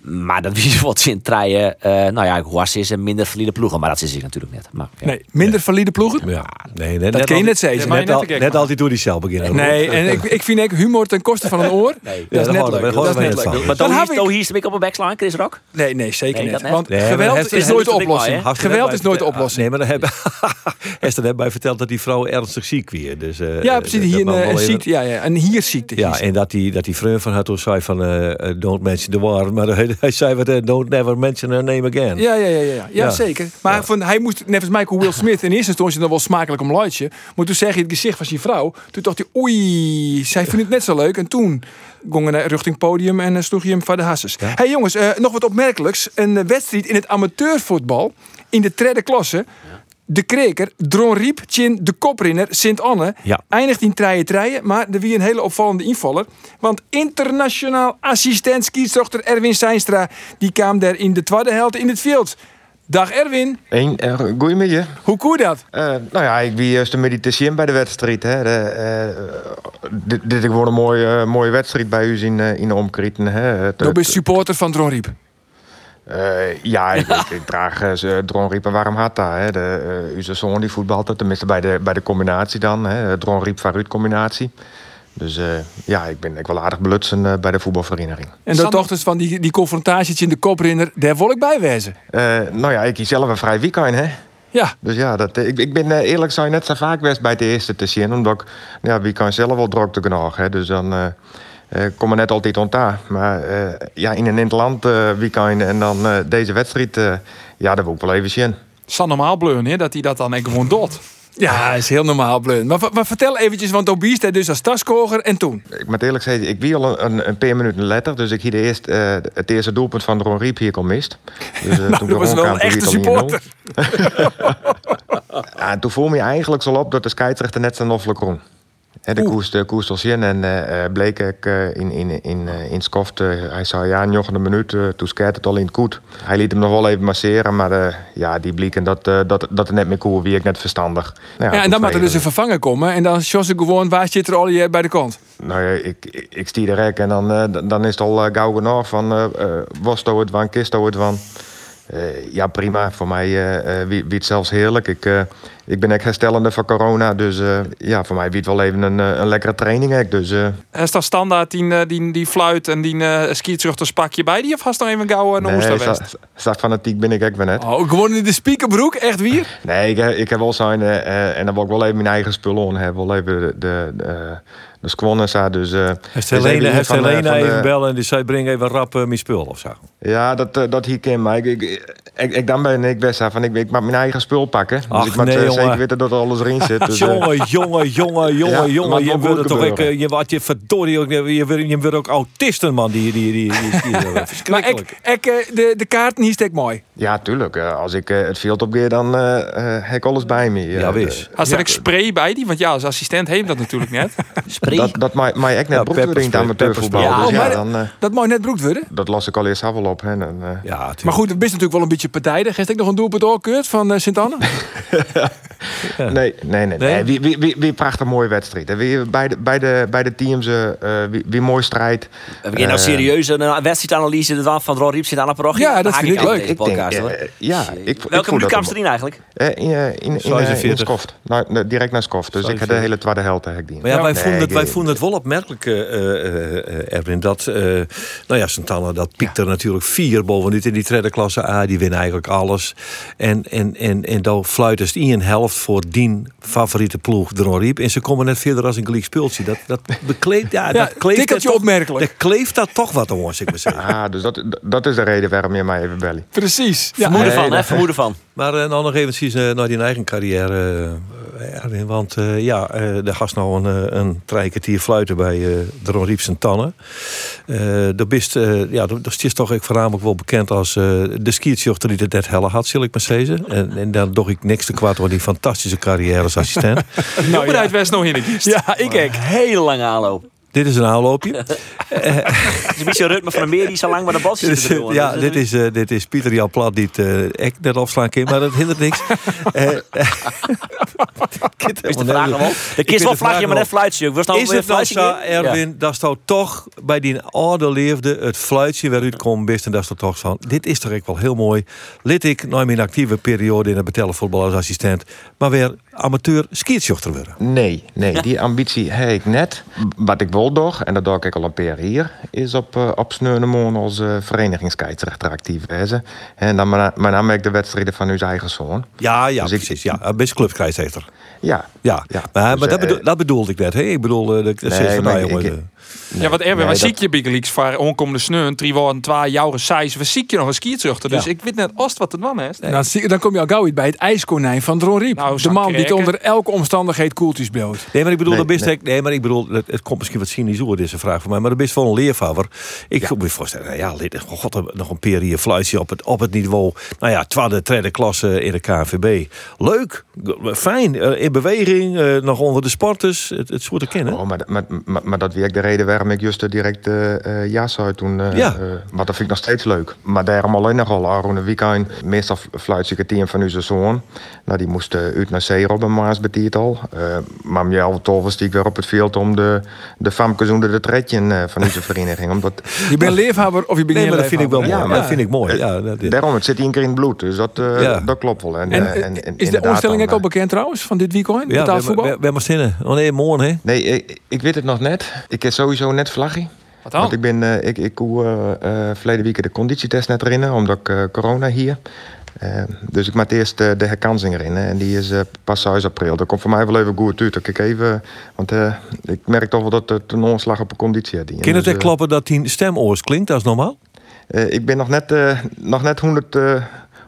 [SPEAKER 5] Maar dat wiet wat in treien. nou ja, Guas is een minder valide ploegen. Maar dat is ik natuurlijk net. Maar, ja.
[SPEAKER 1] Nee, minder valide ploegen?
[SPEAKER 3] Ja, nee, net,
[SPEAKER 1] kun je
[SPEAKER 3] al-
[SPEAKER 1] net zeggen.
[SPEAKER 3] Net,
[SPEAKER 4] Maar
[SPEAKER 3] al,
[SPEAKER 4] net te gek
[SPEAKER 3] net altijd door die cel beginnen.
[SPEAKER 1] Nee, en ik, ik vind ook humor ten koste van een oor. Nee, dat is
[SPEAKER 3] daar
[SPEAKER 1] net
[SPEAKER 3] houden we-
[SPEAKER 1] leuk.
[SPEAKER 3] daar
[SPEAKER 1] Dat is
[SPEAKER 3] houden we
[SPEAKER 1] net
[SPEAKER 3] net
[SPEAKER 1] leuk.
[SPEAKER 3] van.
[SPEAKER 5] Maar
[SPEAKER 1] Dan
[SPEAKER 5] dan
[SPEAKER 1] heb
[SPEAKER 5] hier,
[SPEAKER 1] ik-
[SPEAKER 5] dan hier ben ik op een backslaan, Chris Rock.
[SPEAKER 1] Nee, nee, zeker
[SPEAKER 5] Nee,
[SPEAKER 1] niet.
[SPEAKER 5] dat net.
[SPEAKER 1] Want
[SPEAKER 3] Nee, maar
[SPEAKER 1] geweld
[SPEAKER 3] dat heeft-
[SPEAKER 1] is
[SPEAKER 3] dat
[SPEAKER 1] nooit de
[SPEAKER 5] heeft natuurlijk
[SPEAKER 1] oplossing.
[SPEAKER 5] wel,
[SPEAKER 3] Hester
[SPEAKER 1] geweld
[SPEAKER 3] net
[SPEAKER 1] is nooit de
[SPEAKER 3] bij- Ah,
[SPEAKER 1] oplossing.
[SPEAKER 3] Nee, maar dan heb, Hester net bij verteld dat die vrouw ernstig ziek weer. Dus, eh,
[SPEAKER 1] ja,
[SPEAKER 3] eh,
[SPEAKER 1] precies.
[SPEAKER 3] dat
[SPEAKER 1] Hier
[SPEAKER 3] mag
[SPEAKER 1] een,
[SPEAKER 3] wel
[SPEAKER 1] een
[SPEAKER 3] even-
[SPEAKER 1] ziekte. Ja, ja, een hierziekte.
[SPEAKER 3] Ja,
[SPEAKER 1] Hier-
[SPEAKER 3] en dat die, dat die vriend van haar toen zei van... eh, eh, don't mention the war. Maar hij, hij zei wat, eh, don't never mention her name again.
[SPEAKER 1] ja, ja, ja, ja, ja. ja
[SPEAKER 3] Ja.
[SPEAKER 1] zeker. Maar Van, hij moest, net als Michael Will Smith, in eerste instantie nog wel smakelijk om luidje. Maar toen zag je het gezicht van zijn vrouw. Toen dacht hij, oei, zij vindt het net zo leuk. En toen gong hij naar richting podium en eh, sloeg hij hem van de hasses. hey, jongens, eh, nog wat opmerkelijks. Een eh, wedstrijd in het amateurvoetbal, in de derde klasse... De kreker, Dron Riep, Chin, de koprinner, Sint-Anne.
[SPEAKER 3] Ja.
[SPEAKER 1] Eindigt in treien treien, maar er wie een hele opvallende invaller. Want internationaal assistent skierzochter Erwin Seinstra... die kwam daar in de tweede helft in het veld. Dag Erwin,
[SPEAKER 2] Een, eh, goeiemiddag.
[SPEAKER 1] hoe koe dat?
[SPEAKER 2] Eh, nou ja, ik ben juist een mediticien bij de wedstrijd. Hè. De, eh, dit, dit wordt een mooie, eh, mooie wedstrijd bij u in, eh, in de omkrieten. Hè. Het-
[SPEAKER 1] Je bent
[SPEAKER 2] het-
[SPEAKER 1] supporter van Dron Riep.
[SPEAKER 2] eh, ja, ik, ik, ik draag uh, Dronriep en Warm Hatta. Hè. De, eh uw zoon die voetbalt, tenminste bij de, bij de combinatie dan. Hè. Dronriep Varuit combinatie. Dus eh, ja, ik ben ik wel aardig belutsen eh, bij de voetbalvereniging.
[SPEAKER 1] En dat dochters van die, die confrontatie in de koprinner, daar wil ik bij wezen.
[SPEAKER 2] Eh, nou ja, ik hier zelf een vrij weekend, hè.
[SPEAKER 1] Ja,
[SPEAKER 2] Dus ja, dat, ik, ik ben eh, eerlijk zijn net zo vaak geweest bij het eerste te zien. Omdat ik, ja, wie kan zelf wel drukte genoeg. Hè? Dus dan eh eh, kom er net altijd ontdaan. Maar eh, ja, in een interland eh wie kan en dan eh, deze wedstrijd, eh, ja, dat wil ik wel even zien.
[SPEAKER 4] San normaal bleuren, hè, dat hij dat dan echt gewoon doet.
[SPEAKER 1] ja, is heel normaal, Blun. Maar, v- maar vertel eventjes, want Tobias daar dus als staskoger en toen.
[SPEAKER 2] Ik moet eerlijk zeggen, ik wie al een, een paar minuten letter. Dus ik hier de eerst, eh, het eerste doelpunt van Ron Riep hier kon mist. Dus, eh,
[SPEAKER 1] Nou,
[SPEAKER 2] ik
[SPEAKER 1] dat was
[SPEAKER 2] erom
[SPEAKER 1] wel
[SPEAKER 2] kwam,
[SPEAKER 1] een echte
[SPEAKER 2] toen werd het al 1-0.
[SPEAKER 1] supporter.
[SPEAKER 2] Ja, Ah, en toen voel me je eigenlijk zo op dat de scheidsrechter net zijn offelijk rond. Hè, de koers, de koers tot zin en eh, eh, bleek ik eh, in, in, in, eh, in Skoft. eh, hij zei ja, een jochende minuut, eh, toen skeert het al in het koet. Hij liet hem nog wel even masseren, maar eh, ja, die blikken dat, eh, dat, dat er net meer koer wie ik net verstandig. Nou
[SPEAKER 1] Ja, en
[SPEAKER 2] toen
[SPEAKER 1] dan moet er
[SPEAKER 2] vreden
[SPEAKER 1] dus een vervanger komen. En dan Jos gewoon, waar zit er al je bij de kant?
[SPEAKER 2] we. Nou ja, ik, ik, ik stier de rek en dan, eh, d- dan is het al eh, gauw genoeg van eh eh, Wosto het van, Kisto het van. Eh, ja, prima. Voor mij eh eh, wie, wie het zelfs heerlijk. Ik, eh, ik ben ook herstellende van corona. Dus eh, ja, voor mij wie het wel even een, eh, een lekkere training. Ook, dus eh,
[SPEAKER 4] Hij staat standaard die, eh, die, die fluit en die eh spakje bij die? Of was nog even gauw een
[SPEAKER 2] nee,
[SPEAKER 4] Oosterwest?
[SPEAKER 2] zo, zo fanatiek ben ik ook weer net.
[SPEAKER 1] Oh, gewoon in de spiekerbroek, echt weer?
[SPEAKER 2] Nee, ik, heb- ik heb wel zijn... eh, eh, en dan wil ik wel even mijn eigen spullen on hebben. Wel even de, de, de, de squannen zo. Dus, eh, dus
[SPEAKER 3] Heeft Helene,
[SPEAKER 2] even
[SPEAKER 3] heeft
[SPEAKER 2] van, eh,
[SPEAKER 3] Helene
[SPEAKER 2] van de-
[SPEAKER 3] even bellen en die zei breng even rap eh, mijn spul of zo.
[SPEAKER 2] Ja, dat, eh, dat hier ken maar ik. Ik, ik, ik dan ben ik best aan van ik, ik mag mijn eigen spul pakken. Dus
[SPEAKER 3] Ach,
[SPEAKER 2] ik mag
[SPEAKER 3] nee,
[SPEAKER 2] eh,
[SPEAKER 3] jongen.
[SPEAKER 2] zeker weten dat er alles erin zit. Dus, eh,
[SPEAKER 3] Jongen, jongen,
[SPEAKER 2] Ja,
[SPEAKER 3] jongen, jongen,
[SPEAKER 2] laat
[SPEAKER 3] jongen. Je
[SPEAKER 2] maar
[SPEAKER 3] wordt
[SPEAKER 2] goed
[SPEAKER 3] toch ook,
[SPEAKER 2] gebeuren.
[SPEAKER 3] eh, je wat je verdorie ook, je je wordt je wordt ook autisten man die die die, die, die,
[SPEAKER 1] Maar ik,
[SPEAKER 3] verschrikkelijk.
[SPEAKER 1] ik, eh, de, de kaart niet steek mooi.
[SPEAKER 2] ja, tuurlijk. eh, als ik eh, het veld opgeer, dan eh, eh, heb ik alles bij me. Eh,
[SPEAKER 3] Ja, wees.
[SPEAKER 4] Had er ook spray bij die? Want ja, als assistent heeft dat natuurlijk net.
[SPEAKER 5] Spree.
[SPEAKER 2] Dat, dat mij, mij echt net
[SPEAKER 3] Ja,
[SPEAKER 2] ja, broek
[SPEAKER 3] pepperspray,
[SPEAKER 2] in het amateurvoetbal.
[SPEAKER 3] pepperspray.
[SPEAKER 2] Dus
[SPEAKER 1] Ja,
[SPEAKER 2] ja,
[SPEAKER 1] maar-
[SPEAKER 2] dan, eh,
[SPEAKER 1] Dat mooi net broek worden.
[SPEAKER 2] dat las ik al eerst wel op. Hè, en, eh,
[SPEAKER 3] Ja, tuurlijk.
[SPEAKER 1] Maar goed, het is natuurlijk wel een beetje partijdig. Heeft ik nog een doelpunt oorkeurd van eh, Sint-Anne?
[SPEAKER 2] Nee, nee, nee. nee. Wie, wie, wie, wie prachtig mooie wedstrijd. hè. Wie, bij, de, bij, de, bij de teams, eh, eh, wie, wie mooi strijd.
[SPEAKER 5] We beginnen
[SPEAKER 2] Eh,
[SPEAKER 5] nou serieus een eh, wedstrijdanalyse ervan van Ron Riep zit aan de parochie.
[SPEAKER 1] Ja, dat
[SPEAKER 5] Haak
[SPEAKER 1] vind ik
[SPEAKER 5] aan
[SPEAKER 1] leuk.
[SPEAKER 5] deze
[SPEAKER 2] Ik denk,
[SPEAKER 5] podcast,
[SPEAKER 2] eh,
[SPEAKER 5] hoor.
[SPEAKER 2] eh, ja,
[SPEAKER 5] Jee.
[SPEAKER 2] ik- ik voel
[SPEAKER 5] Welke minuut
[SPEAKER 2] dat
[SPEAKER 5] kwam
[SPEAKER 2] hem-
[SPEAKER 5] ze erin eigenlijk?
[SPEAKER 2] eh, in, eh, in, in, eh, in,
[SPEAKER 3] 46.
[SPEAKER 2] Skoft. Nou, nee, direct naar Skoft. Dus ik had de
[SPEAKER 3] 46.
[SPEAKER 2] hele tweede helft eigenlijk die.
[SPEAKER 3] Maar ja, wij,
[SPEAKER 2] Nee,
[SPEAKER 3] vonden het, wij
[SPEAKER 2] ik-
[SPEAKER 3] vonden het wel opmerkelijk, eh, eh, eh, Erwin, dat... eh, nou ja, Santana, dat piekt er natuurlijk vier bovenuit in die derde klasse A. Die winnen eigenlijk alles. En, en, en, en dan fluit het in een skoft voor dien favoriete ploeg erom riep. En ze komen net verder als een gelijk spultje. Dat, dat bekleedt, ja, dat kleeft
[SPEAKER 1] tikkeltje
[SPEAKER 3] er toch-
[SPEAKER 1] opmerkelijk.
[SPEAKER 3] Dat kleeft daar toch wat, jongens, ik moet zeggen.
[SPEAKER 9] Ah, dus dat, dat is de reden waarom je mij even belly.
[SPEAKER 1] Precies. Ja. eh,
[SPEAKER 5] Vermoeden
[SPEAKER 3] Nee,
[SPEAKER 5] van, hè?
[SPEAKER 3] dat-
[SPEAKER 5] Vermoeden van.
[SPEAKER 3] Maar eh, nou nog eventjes eh, naar die eigen carrière. eh, Erwin. want eh, ja, eh daar gast nou een, eh, een treikertier fluiten bij eh Dron Riep zijn Tannen. Eh dat bist, eh, ja, dat, dat is toch ik voornamelijk wel bekend als eh, de skiertjochter die het net helle had, zal ik maar zeggen. En, en dan doch ik niks te kwaad over die fantastische carrière als assistent.
[SPEAKER 1] eh,
[SPEAKER 2] Nou, ja. uit West nog in de kiest.
[SPEAKER 1] Ja, ik
[SPEAKER 5] Kijk, hele lange aanloop.
[SPEAKER 3] Dit is een aanloopje.
[SPEAKER 5] Het is een beetje een ritme van de meer die zo lang maar de bal
[SPEAKER 3] Dit
[SPEAKER 5] zit
[SPEAKER 3] is,
[SPEAKER 5] te Dus, doen.
[SPEAKER 3] ja, dit is, eh, dit is Pieter Jan Plat die het eh, ek net afslaan kan, maar dat hindert niks. Eh, eh, ik
[SPEAKER 5] Is de
[SPEAKER 3] helemaal
[SPEAKER 5] vraag
[SPEAKER 3] nergens-
[SPEAKER 5] wel? De
[SPEAKER 3] ben
[SPEAKER 5] kist wel
[SPEAKER 3] de vraag
[SPEAKER 5] vlagje, maar
[SPEAKER 3] wel.
[SPEAKER 5] net fluitje. Ik was nou
[SPEAKER 3] is het nou
[SPEAKER 5] fluitje
[SPEAKER 3] zo,
[SPEAKER 5] hier? Ja.
[SPEAKER 3] Erwin, dat zou toch bij die oude leefde het fluitje waaruit komt best en dat is toch toch van, dit is toch echt wel heel mooi. Lid ik nou in mijn actieve periode in het betellen voetbal als assistent, maar weer amateur skiertsjochter worden.
[SPEAKER 9] Nee, nee, die ambitie heb ik net. Wat ik wil doch, en dat doe ik al een paar jaar, is op, eh, op Sneunemoon als eh verenigingskeidsrechter actief wezen. En dan met met name ik de wedstrijden van uw eigen zoon.
[SPEAKER 3] Ja, ja,
[SPEAKER 9] Dus ik-
[SPEAKER 3] precies. Ja, best clubkrijgsrechter.
[SPEAKER 9] Ja.
[SPEAKER 3] Ja,
[SPEAKER 9] Ja,
[SPEAKER 3] maar,
[SPEAKER 9] dus,
[SPEAKER 3] maar dat,
[SPEAKER 9] eh,
[SPEAKER 3] bedoel, dat bedoelde ik net. Hè? Ik bedoel, eh, dat dat
[SPEAKER 9] Nee,
[SPEAKER 3] zit van
[SPEAKER 9] maar
[SPEAKER 3] nou,
[SPEAKER 9] ik-
[SPEAKER 3] jongen,
[SPEAKER 9] ik-
[SPEAKER 3] eh,
[SPEAKER 2] Ja, wat Erwin,
[SPEAKER 9] nee,
[SPEAKER 2] waar
[SPEAKER 9] dat-
[SPEAKER 2] zie je Big Leaks voor onkomende sneun, Triwoorden, twee jouw seis, waar zie je nog een skiertruchter? Dus
[SPEAKER 3] Ja.
[SPEAKER 2] ik weet net als wat het man is.
[SPEAKER 1] Dan, zie- dan kom je al gauw uit bij het ijskonijn van Dron Riep.
[SPEAKER 2] Nou,
[SPEAKER 1] de
[SPEAKER 2] zou
[SPEAKER 1] man die het
[SPEAKER 2] kreken.
[SPEAKER 1] onder elke omstandigheid koeltjes bloot.
[SPEAKER 3] Nee, maar ik bedoel,
[SPEAKER 9] Nee,
[SPEAKER 3] dat best,
[SPEAKER 9] nee.
[SPEAKER 3] nee. maar ik bedoel, het, het komt misschien wat cynisch over deze vraag voor mij, maar dat is wel een leervader. Ik kan me voorstellen, nou ja, lid- oh god, nog een periode fluitje op het, op het niveau, nou ja, tweede, derde klasse in de KNVB. Leuk, g- fijn, eh, in beweging, eh, nog onder de sporters, het, het soort te kennen.
[SPEAKER 9] Oh, maar, dat- maar, maar, maar dat werkt de reden waarom ik juist eh, direct eh eh, ja zei toen. eh,
[SPEAKER 3] Ja.
[SPEAKER 9] eh, want dat vind ik nog steeds leuk. Maar daarom alleen nogal al rond een weekend. Meestal fl- fluit ik het team van onze zoon. Nou, die moest eh, uit naar zee op een maas betiert al. Eh, maar Mjel Tolvers die ik weer op het veld om de, de famkes onder de tretje eh, van onze vereniging. Omdat,
[SPEAKER 1] Je bent leefhebber of je bent
[SPEAKER 3] Nee,
[SPEAKER 1] geen
[SPEAKER 3] maar dat vind ik wel mooi.
[SPEAKER 1] leefhebber,
[SPEAKER 9] Ja, Eh,
[SPEAKER 1] hè?
[SPEAKER 3] dat vind ik mooi. Ja, dat,
[SPEAKER 9] daarom, het zit één keer in het bloed. Dus dat, eh,
[SPEAKER 3] Ja.
[SPEAKER 9] dat klopt wel. En,
[SPEAKER 1] En,
[SPEAKER 9] eh, en-
[SPEAKER 1] eh,
[SPEAKER 9] en
[SPEAKER 1] is de
[SPEAKER 9] inderdaad
[SPEAKER 1] omstelling
[SPEAKER 9] dan,
[SPEAKER 1] ook al
[SPEAKER 9] eh,
[SPEAKER 1] bekend trouwens van dit weekend?
[SPEAKER 3] ja,
[SPEAKER 1] betaald
[SPEAKER 3] we,
[SPEAKER 1] voetbal?
[SPEAKER 3] we, we zinnen. Oh nee, morgen hè.
[SPEAKER 9] eh, Nee, ik, ik weet het nog net. Ik heb sowieso net vlaggie.
[SPEAKER 2] Wat dan?
[SPEAKER 9] Want ik ben, eh, ik, ik hoe, eh, eh, verleden week de conditietest net erin, omdat ik eh, corona hier. Eh, dus ik maak eerst eh, de herkansing erin. En die is eh, pas 6 april. Dat komt voor mij wel even goed uit. Dat ik even, want eh, ik merk toch wel dat het een omslag op de conditie had.
[SPEAKER 3] Kan het
[SPEAKER 9] Dus,
[SPEAKER 3] echt
[SPEAKER 9] eh,
[SPEAKER 3] kloppen dat die stemoors klinkt, dat is normaal?
[SPEAKER 9] eh, ik ben nog net, eh, nog net 100, eh,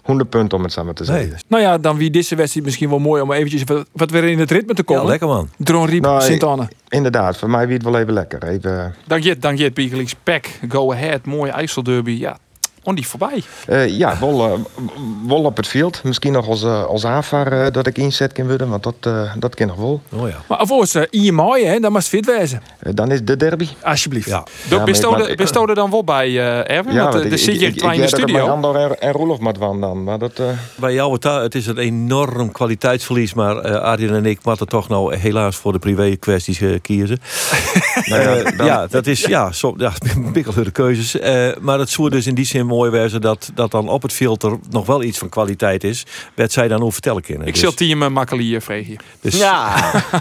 [SPEAKER 9] 100 punten om het samen te zeggen.
[SPEAKER 3] Nee.
[SPEAKER 1] Nou ja, dan wie deze wedstrijd misschien wel mooi om eventjes wat, wat weer in het ritme te
[SPEAKER 3] Ja,
[SPEAKER 1] komen.
[SPEAKER 3] lekker man.
[SPEAKER 1] Dron Riep,
[SPEAKER 9] Nou,
[SPEAKER 1] Sint-Anne.
[SPEAKER 9] Inderdaad, voor mij wie het wel even lekker. Even, eh,
[SPEAKER 2] Dank je, dank je, het Big Leaks pack. Go ahead, mooie IJsselderby. Ja, on die voorbij.
[SPEAKER 9] Eh, ja, wel, eh, w- wel op het veld. Misschien nog als, eh, als aanvaar eh, dat ik inzet kan worden, want dat, eh dat kan nog wel.
[SPEAKER 3] Oh ja.
[SPEAKER 1] Maar alvorens, uh, in mei, hè, dan mag het fit wezen.
[SPEAKER 9] Eh, dan is de derby.
[SPEAKER 1] Alsjeblieft.
[SPEAKER 3] Ja.
[SPEAKER 9] maar ik- maar ik-
[SPEAKER 2] Bestoot er dan wel bij, eh, Erwin?
[SPEAKER 9] ja,
[SPEAKER 2] want
[SPEAKER 9] want
[SPEAKER 2] eh, er zit je twee in de
[SPEAKER 9] jij dat er met
[SPEAKER 2] studio.
[SPEAKER 9] Andor en, en Roelof moet van dan. Maar dat, eh,
[SPEAKER 3] Bij jou, het, het is een enorm kwaliteitsverlies. Maar eh Arjen en ik moeten toch nou helaas voor de privé kwesties eh, kiezen. Eh,
[SPEAKER 9] nou ja, dan-
[SPEAKER 3] Ja, dat is ja, so, ja, pikkelhurde keuzes. Eh, maar het zou dus in die zin mooi wezen dat, dat dan op het filter nog wel iets van kwaliteit is. Werd zij dan over vertellen kunnen.
[SPEAKER 2] Ik
[SPEAKER 3] Dus-
[SPEAKER 2] zit team eh, makkelier, vreeg je.
[SPEAKER 3] dus-
[SPEAKER 5] Ja,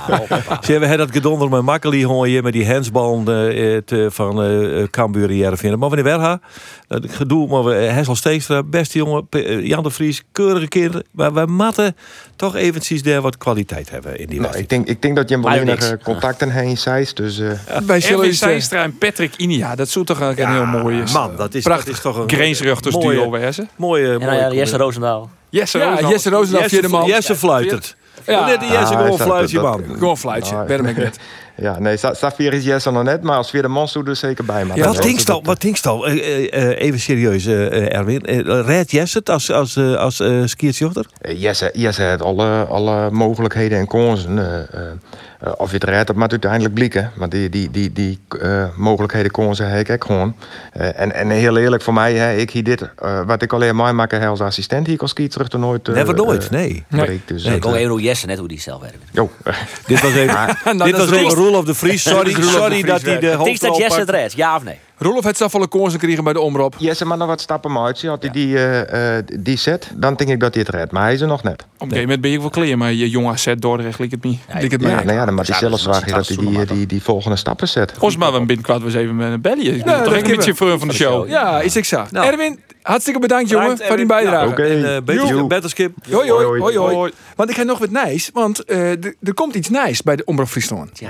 [SPEAKER 3] Ze hebben dat gedonder met Makkeli hoor je met die handsbal eh, het, eh, van eh Cambuur en Jervin. Maar wanneer Werha, dat gedoe, maar we eh, Hessel Steekstra, beste jongen, P- eh, Jan de Vries, keurige kinderen. Maar wij matten toch eventjes daar wat kwaliteit hebben in die
[SPEAKER 9] nou,
[SPEAKER 3] wedstrijd.
[SPEAKER 9] ik, denk, ik denk dat je hem wel
[SPEAKER 5] Maar
[SPEAKER 9] weinig
[SPEAKER 5] niks.
[SPEAKER 9] eh, contacten hebt in Zeist. Dus eh,
[SPEAKER 1] Wij zullen
[SPEAKER 2] Erwin
[SPEAKER 1] eens, eh,
[SPEAKER 2] Seistra en Patrick Inia. Dat zou toch een heel eh, mooie...
[SPEAKER 3] Man, dat is, dat
[SPEAKER 1] prachtig.
[SPEAKER 3] is toch
[SPEAKER 2] eh,
[SPEAKER 3] een
[SPEAKER 2] Greensruchters
[SPEAKER 3] mooie-
[SPEAKER 2] duo wezen.
[SPEAKER 3] Mooie, mooie,
[SPEAKER 5] en dan, ja, Jesse Roosendaal.
[SPEAKER 2] Yes,
[SPEAKER 1] ja, Jesse Roosendaal, vierde man.
[SPEAKER 3] Jesse fluitert.
[SPEAKER 1] Ja.
[SPEAKER 3] Ja. Net die Jesse
[SPEAKER 9] Ah,
[SPEAKER 3] gewoon
[SPEAKER 9] is dat-
[SPEAKER 3] fluitje,
[SPEAKER 9] dat-
[SPEAKER 3] man.
[SPEAKER 1] Gewoon fluitje,
[SPEAKER 9] Nou,
[SPEAKER 1] ben ik net.
[SPEAKER 9] ja, nee, Sa- Safir is yes nog net. Maar als weer de monster er zeker bij. Maar
[SPEAKER 3] wat denkst al? Wat denkst al? Eh, eh, eh, even serieus, eh, eh, Erwin. Eh, Red Jesse het als, als, eh, als eh, skiertjochter?
[SPEAKER 9] Yes, yes, het alle, alle mogelijkheden en kansen. eh, eh, eh, of je het redt, dat moet uiteindelijk blikken. Want die, die, die, die eh, mogelijkheden, kansen heb ik ook gewoon. Eh, en, en heel eerlijk voor mij, hè, ik hier dit, eh, wat ik alleen maar maak als assistent hier, als terug er nooit. eh,
[SPEAKER 3] Never nooit,
[SPEAKER 9] eh,
[SPEAKER 3] nee.
[SPEAKER 9] breekt. Dus,
[SPEAKER 3] Nee,
[SPEAKER 9] eh,
[SPEAKER 5] Ik hoor even hoe Jesse net hoe die zelf werkt.
[SPEAKER 9] joh.
[SPEAKER 3] Dit was even,
[SPEAKER 1] dat
[SPEAKER 3] dit
[SPEAKER 1] is
[SPEAKER 3] was
[SPEAKER 1] Roelof.
[SPEAKER 3] even Roel of de Vries. Sorry, sorry dat hij de
[SPEAKER 5] Denk
[SPEAKER 3] hoofdrol
[SPEAKER 5] dat Jesse het
[SPEAKER 3] pakt.
[SPEAKER 5] redt, ja of nee?
[SPEAKER 1] Rolof heeft zelf al een koorsen gekregen bij de omroep.
[SPEAKER 9] Jesse, maar nog wat stappen maar uit. Zie, Had hij die, eh, eh, die set, dan denk ik dat hij het redt. Maar hij is er nog net.
[SPEAKER 2] Op een gegeven moment ben je wel klaar, maar je jong AZ Dordrecht lijkt het niet.
[SPEAKER 1] Dik het
[SPEAKER 9] Ja,
[SPEAKER 1] mij.
[SPEAKER 9] nou ja, dan moet hij
[SPEAKER 8] Ja,
[SPEAKER 9] zelf
[SPEAKER 8] dat is- dat is
[SPEAKER 9] zorgen dat hij die, die,
[SPEAKER 8] Soenemaker.
[SPEAKER 9] die, die volgende stappen zet.
[SPEAKER 2] Ons maar een binnenkort was even met een belly. Ik ben
[SPEAKER 1] dat
[SPEAKER 2] toch echt een
[SPEAKER 1] kunnen we.
[SPEAKER 2] beetje voor van de show.
[SPEAKER 1] Ja, is exact.
[SPEAKER 3] Nou.
[SPEAKER 1] Erwin, Hartstikke bedankt, jongen,
[SPEAKER 5] Bedankt,
[SPEAKER 1] voor die
[SPEAKER 5] Erik.
[SPEAKER 1] bijdrage.
[SPEAKER 9] Oké.
[SPEAKER 3] En eh beter,
[SPEAKER 9] Joe.
[SPEAKER 3] beter skip.
[SPEAKER 1] Hoi, hoi,
[SPEAKER 9] Hoi,
[SPEAKER 1] hoi,
[SPEAKER 9] hoi.
[SPEAKER 1] hoi. Want ik ga nog wat nijs, want eh, d- er komt iets nijs bij de Omroep Friesland.
[SPEAKER 5] Ja,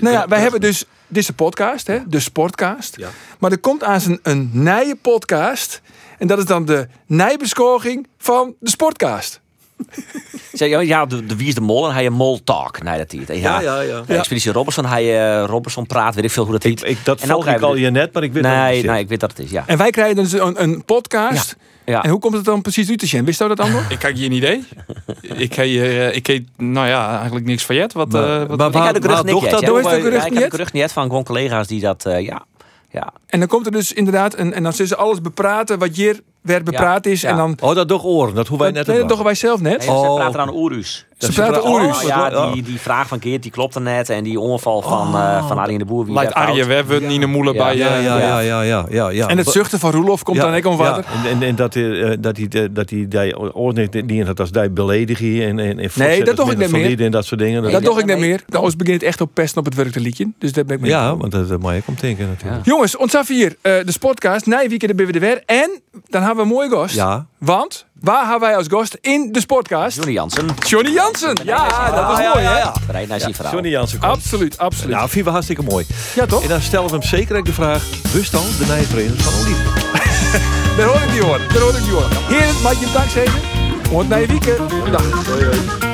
[SPEAKER 1] Nou ja, wij hebben dus, dit is de podcast, hè, de Sportcast. Maar er komt aan zijn een nije podcast. En dat is dan de nijbeschorging van de Sportcast.
[SPEAKER 5] Zeg, ja, ja de, de Wie is de Mol en hij een Mol Talk. Nee, dat heet. Ja,
[SPEAKER 3] Ja, ja, ja.
[SPEAKER 5] Eh, Expeditie Robinson, hij eh, Robinson praat, weet ik veel hoe dat heet.
[SPEAKER 3] Ik, dat
[SPEAKER 5] En dan
[SPEAKER 3] volg ik
[SPEAKER 5] krijgen
[SPEAKER 3] al
[SPEAKER 5] we-
[SPEAKER 3] je net, maar ik weet dat
[SPEAKER 5] Nee,
[SPEAKER 3] niet.
[SPEAKER 5] nee, ik weet dat het is, ja.
[SPEAKER 1] En wij krijgen dus een, een podcast.
[SPEAKER 5] ja.
[SPEAKER 1] En hoe komt het dan precies uit te zien? Wist jij dat, Andor?
[SPEAKER 2] Ik heb geen idee. ik heb, eh, ik heb, nou ja, eigenlijk niks van Jet. Wat, eh, wat,
[SPEAKER 3] maar
[SPEAKER 5] Ik heb
[SPEAKER 3] waar,
[SPEAKER 5] de gerucht
[SPEAKER 3] waar
[SPEAKER 5] niet
[SPEAKER 3] docht
[SPEAKER 5] uit,
[SPEAKER 3] dat
[SPEAKER 5] ja.
[SPEAKER 1] Doe
[SPEAKER 3] door
[SPEAKER 1] eens de
[SPEAKER 3] bij-
[SPEAKER 1] gerucht
[SPEAKER 5] Ja, ik heb
[SPEAKER 1] niet?
[SPEAKER 5] de gerucht niet van gewoon collega's die dat, eh, ja. ja.
[SPEAKER 1] En dan komt er dus inderdaad een, en dan zullen ze alles bepraten wat hier werd bepraat is.
[SPEAKER 5] ja.
[SPEAKER 1] En dan,
[SPEAKER 3] Oh, dat toch oren, dat hoe wij net
[SPEAKER 1] nee, dat eh, doen wij zelf net.
[SPEAKER 5] Nee, ze
[SPEAKER 3] Oh.
[SPEAKER 5] praten aan Oerus.
[SPEAKER 1] Ze praten
[SPEAKER 3] Oh,
[SPEAKER 1] Oerus.
[SPEAKER 5] Oh, ja,
[SPEAKER 3] oh.
[SPEAKER 5] die, die vraag van Keert, die klopte net. En die ongeval van, eh van Arjen de Boer. Wie
[SPEAKER 2] lijkt
[SPEAKER 5] werd
[SPEAKER 2] Arjen
[SPEAKER 5] oud.
[SPEAKER 2] Webber, Nina Moelen
[SPEAKER 5] Ja,
[SPEAKER 2] bij...
[SPEAKER 3] Ja,
[SPEAKER 2] eh,
[SPEAKER 3] ja, ja, ja, ja, ja, ja.
[SPEAKER 1] En het zuchten van Roelof komt dan ik om water.
[SPEAKER 3] Oh. Ja. En, en, en dat hij eh, dat hij de- dat hij die ordent die dat als die beledigen en en, en voortzetters
[SPEAKER 1] dat doe ik
[SPEAKER 3] minder
[SPEAKER 1] niet meer.
[SPEAKER 3] valide en dat soort dingen.
[SPEAKER 1] dat
[SPEAKER 5] nee,
[SPEAKER 1] doe ik niet
[SPEAKER 5] nee.
[SPEAKER 1] meer. Nou, ons begint echt op pesten op het werk te liedje. Dus daar ben ik mee.
[SPEAKER 3] ja, want dat, dat mag je ook om denken natuurlijk.
[SPEAKER 1] Jongens, ontzaf hier eh, de Sportcast. Nee, weekend hebben we er weer. En dan hebben we een mooie gast.
[SPEAKER 3] Ja.
[SPEAKER 1] Want waar hebben wij als gast in de Sportcast?
[SPEAKER 5] Johnny Jansen.
[SPEAKER 1] Johnny Jansen. Ja, dat was mooi, hè?
[SPEAKER 5] Bereid naar zijn verhaal.
[SPEAKER 3] Johnny Jansen komt.
[SPEAKER 1] Absoluut, absoluut.
[SPEAKER 3] Nou, vinden we hartstikke mooi.
[SPEAKER 1] Ja, toch?
[SPEAKER 3] En dan stellen we hem zeker ook de vraag, wist dan de nieuwe trainer van Olympique?
[SPEAKER 1] Daar hoor ik die hoor. Daar hoor ik die hoor. Heren, mag je hem dankzij. Want na je weekend. Dag.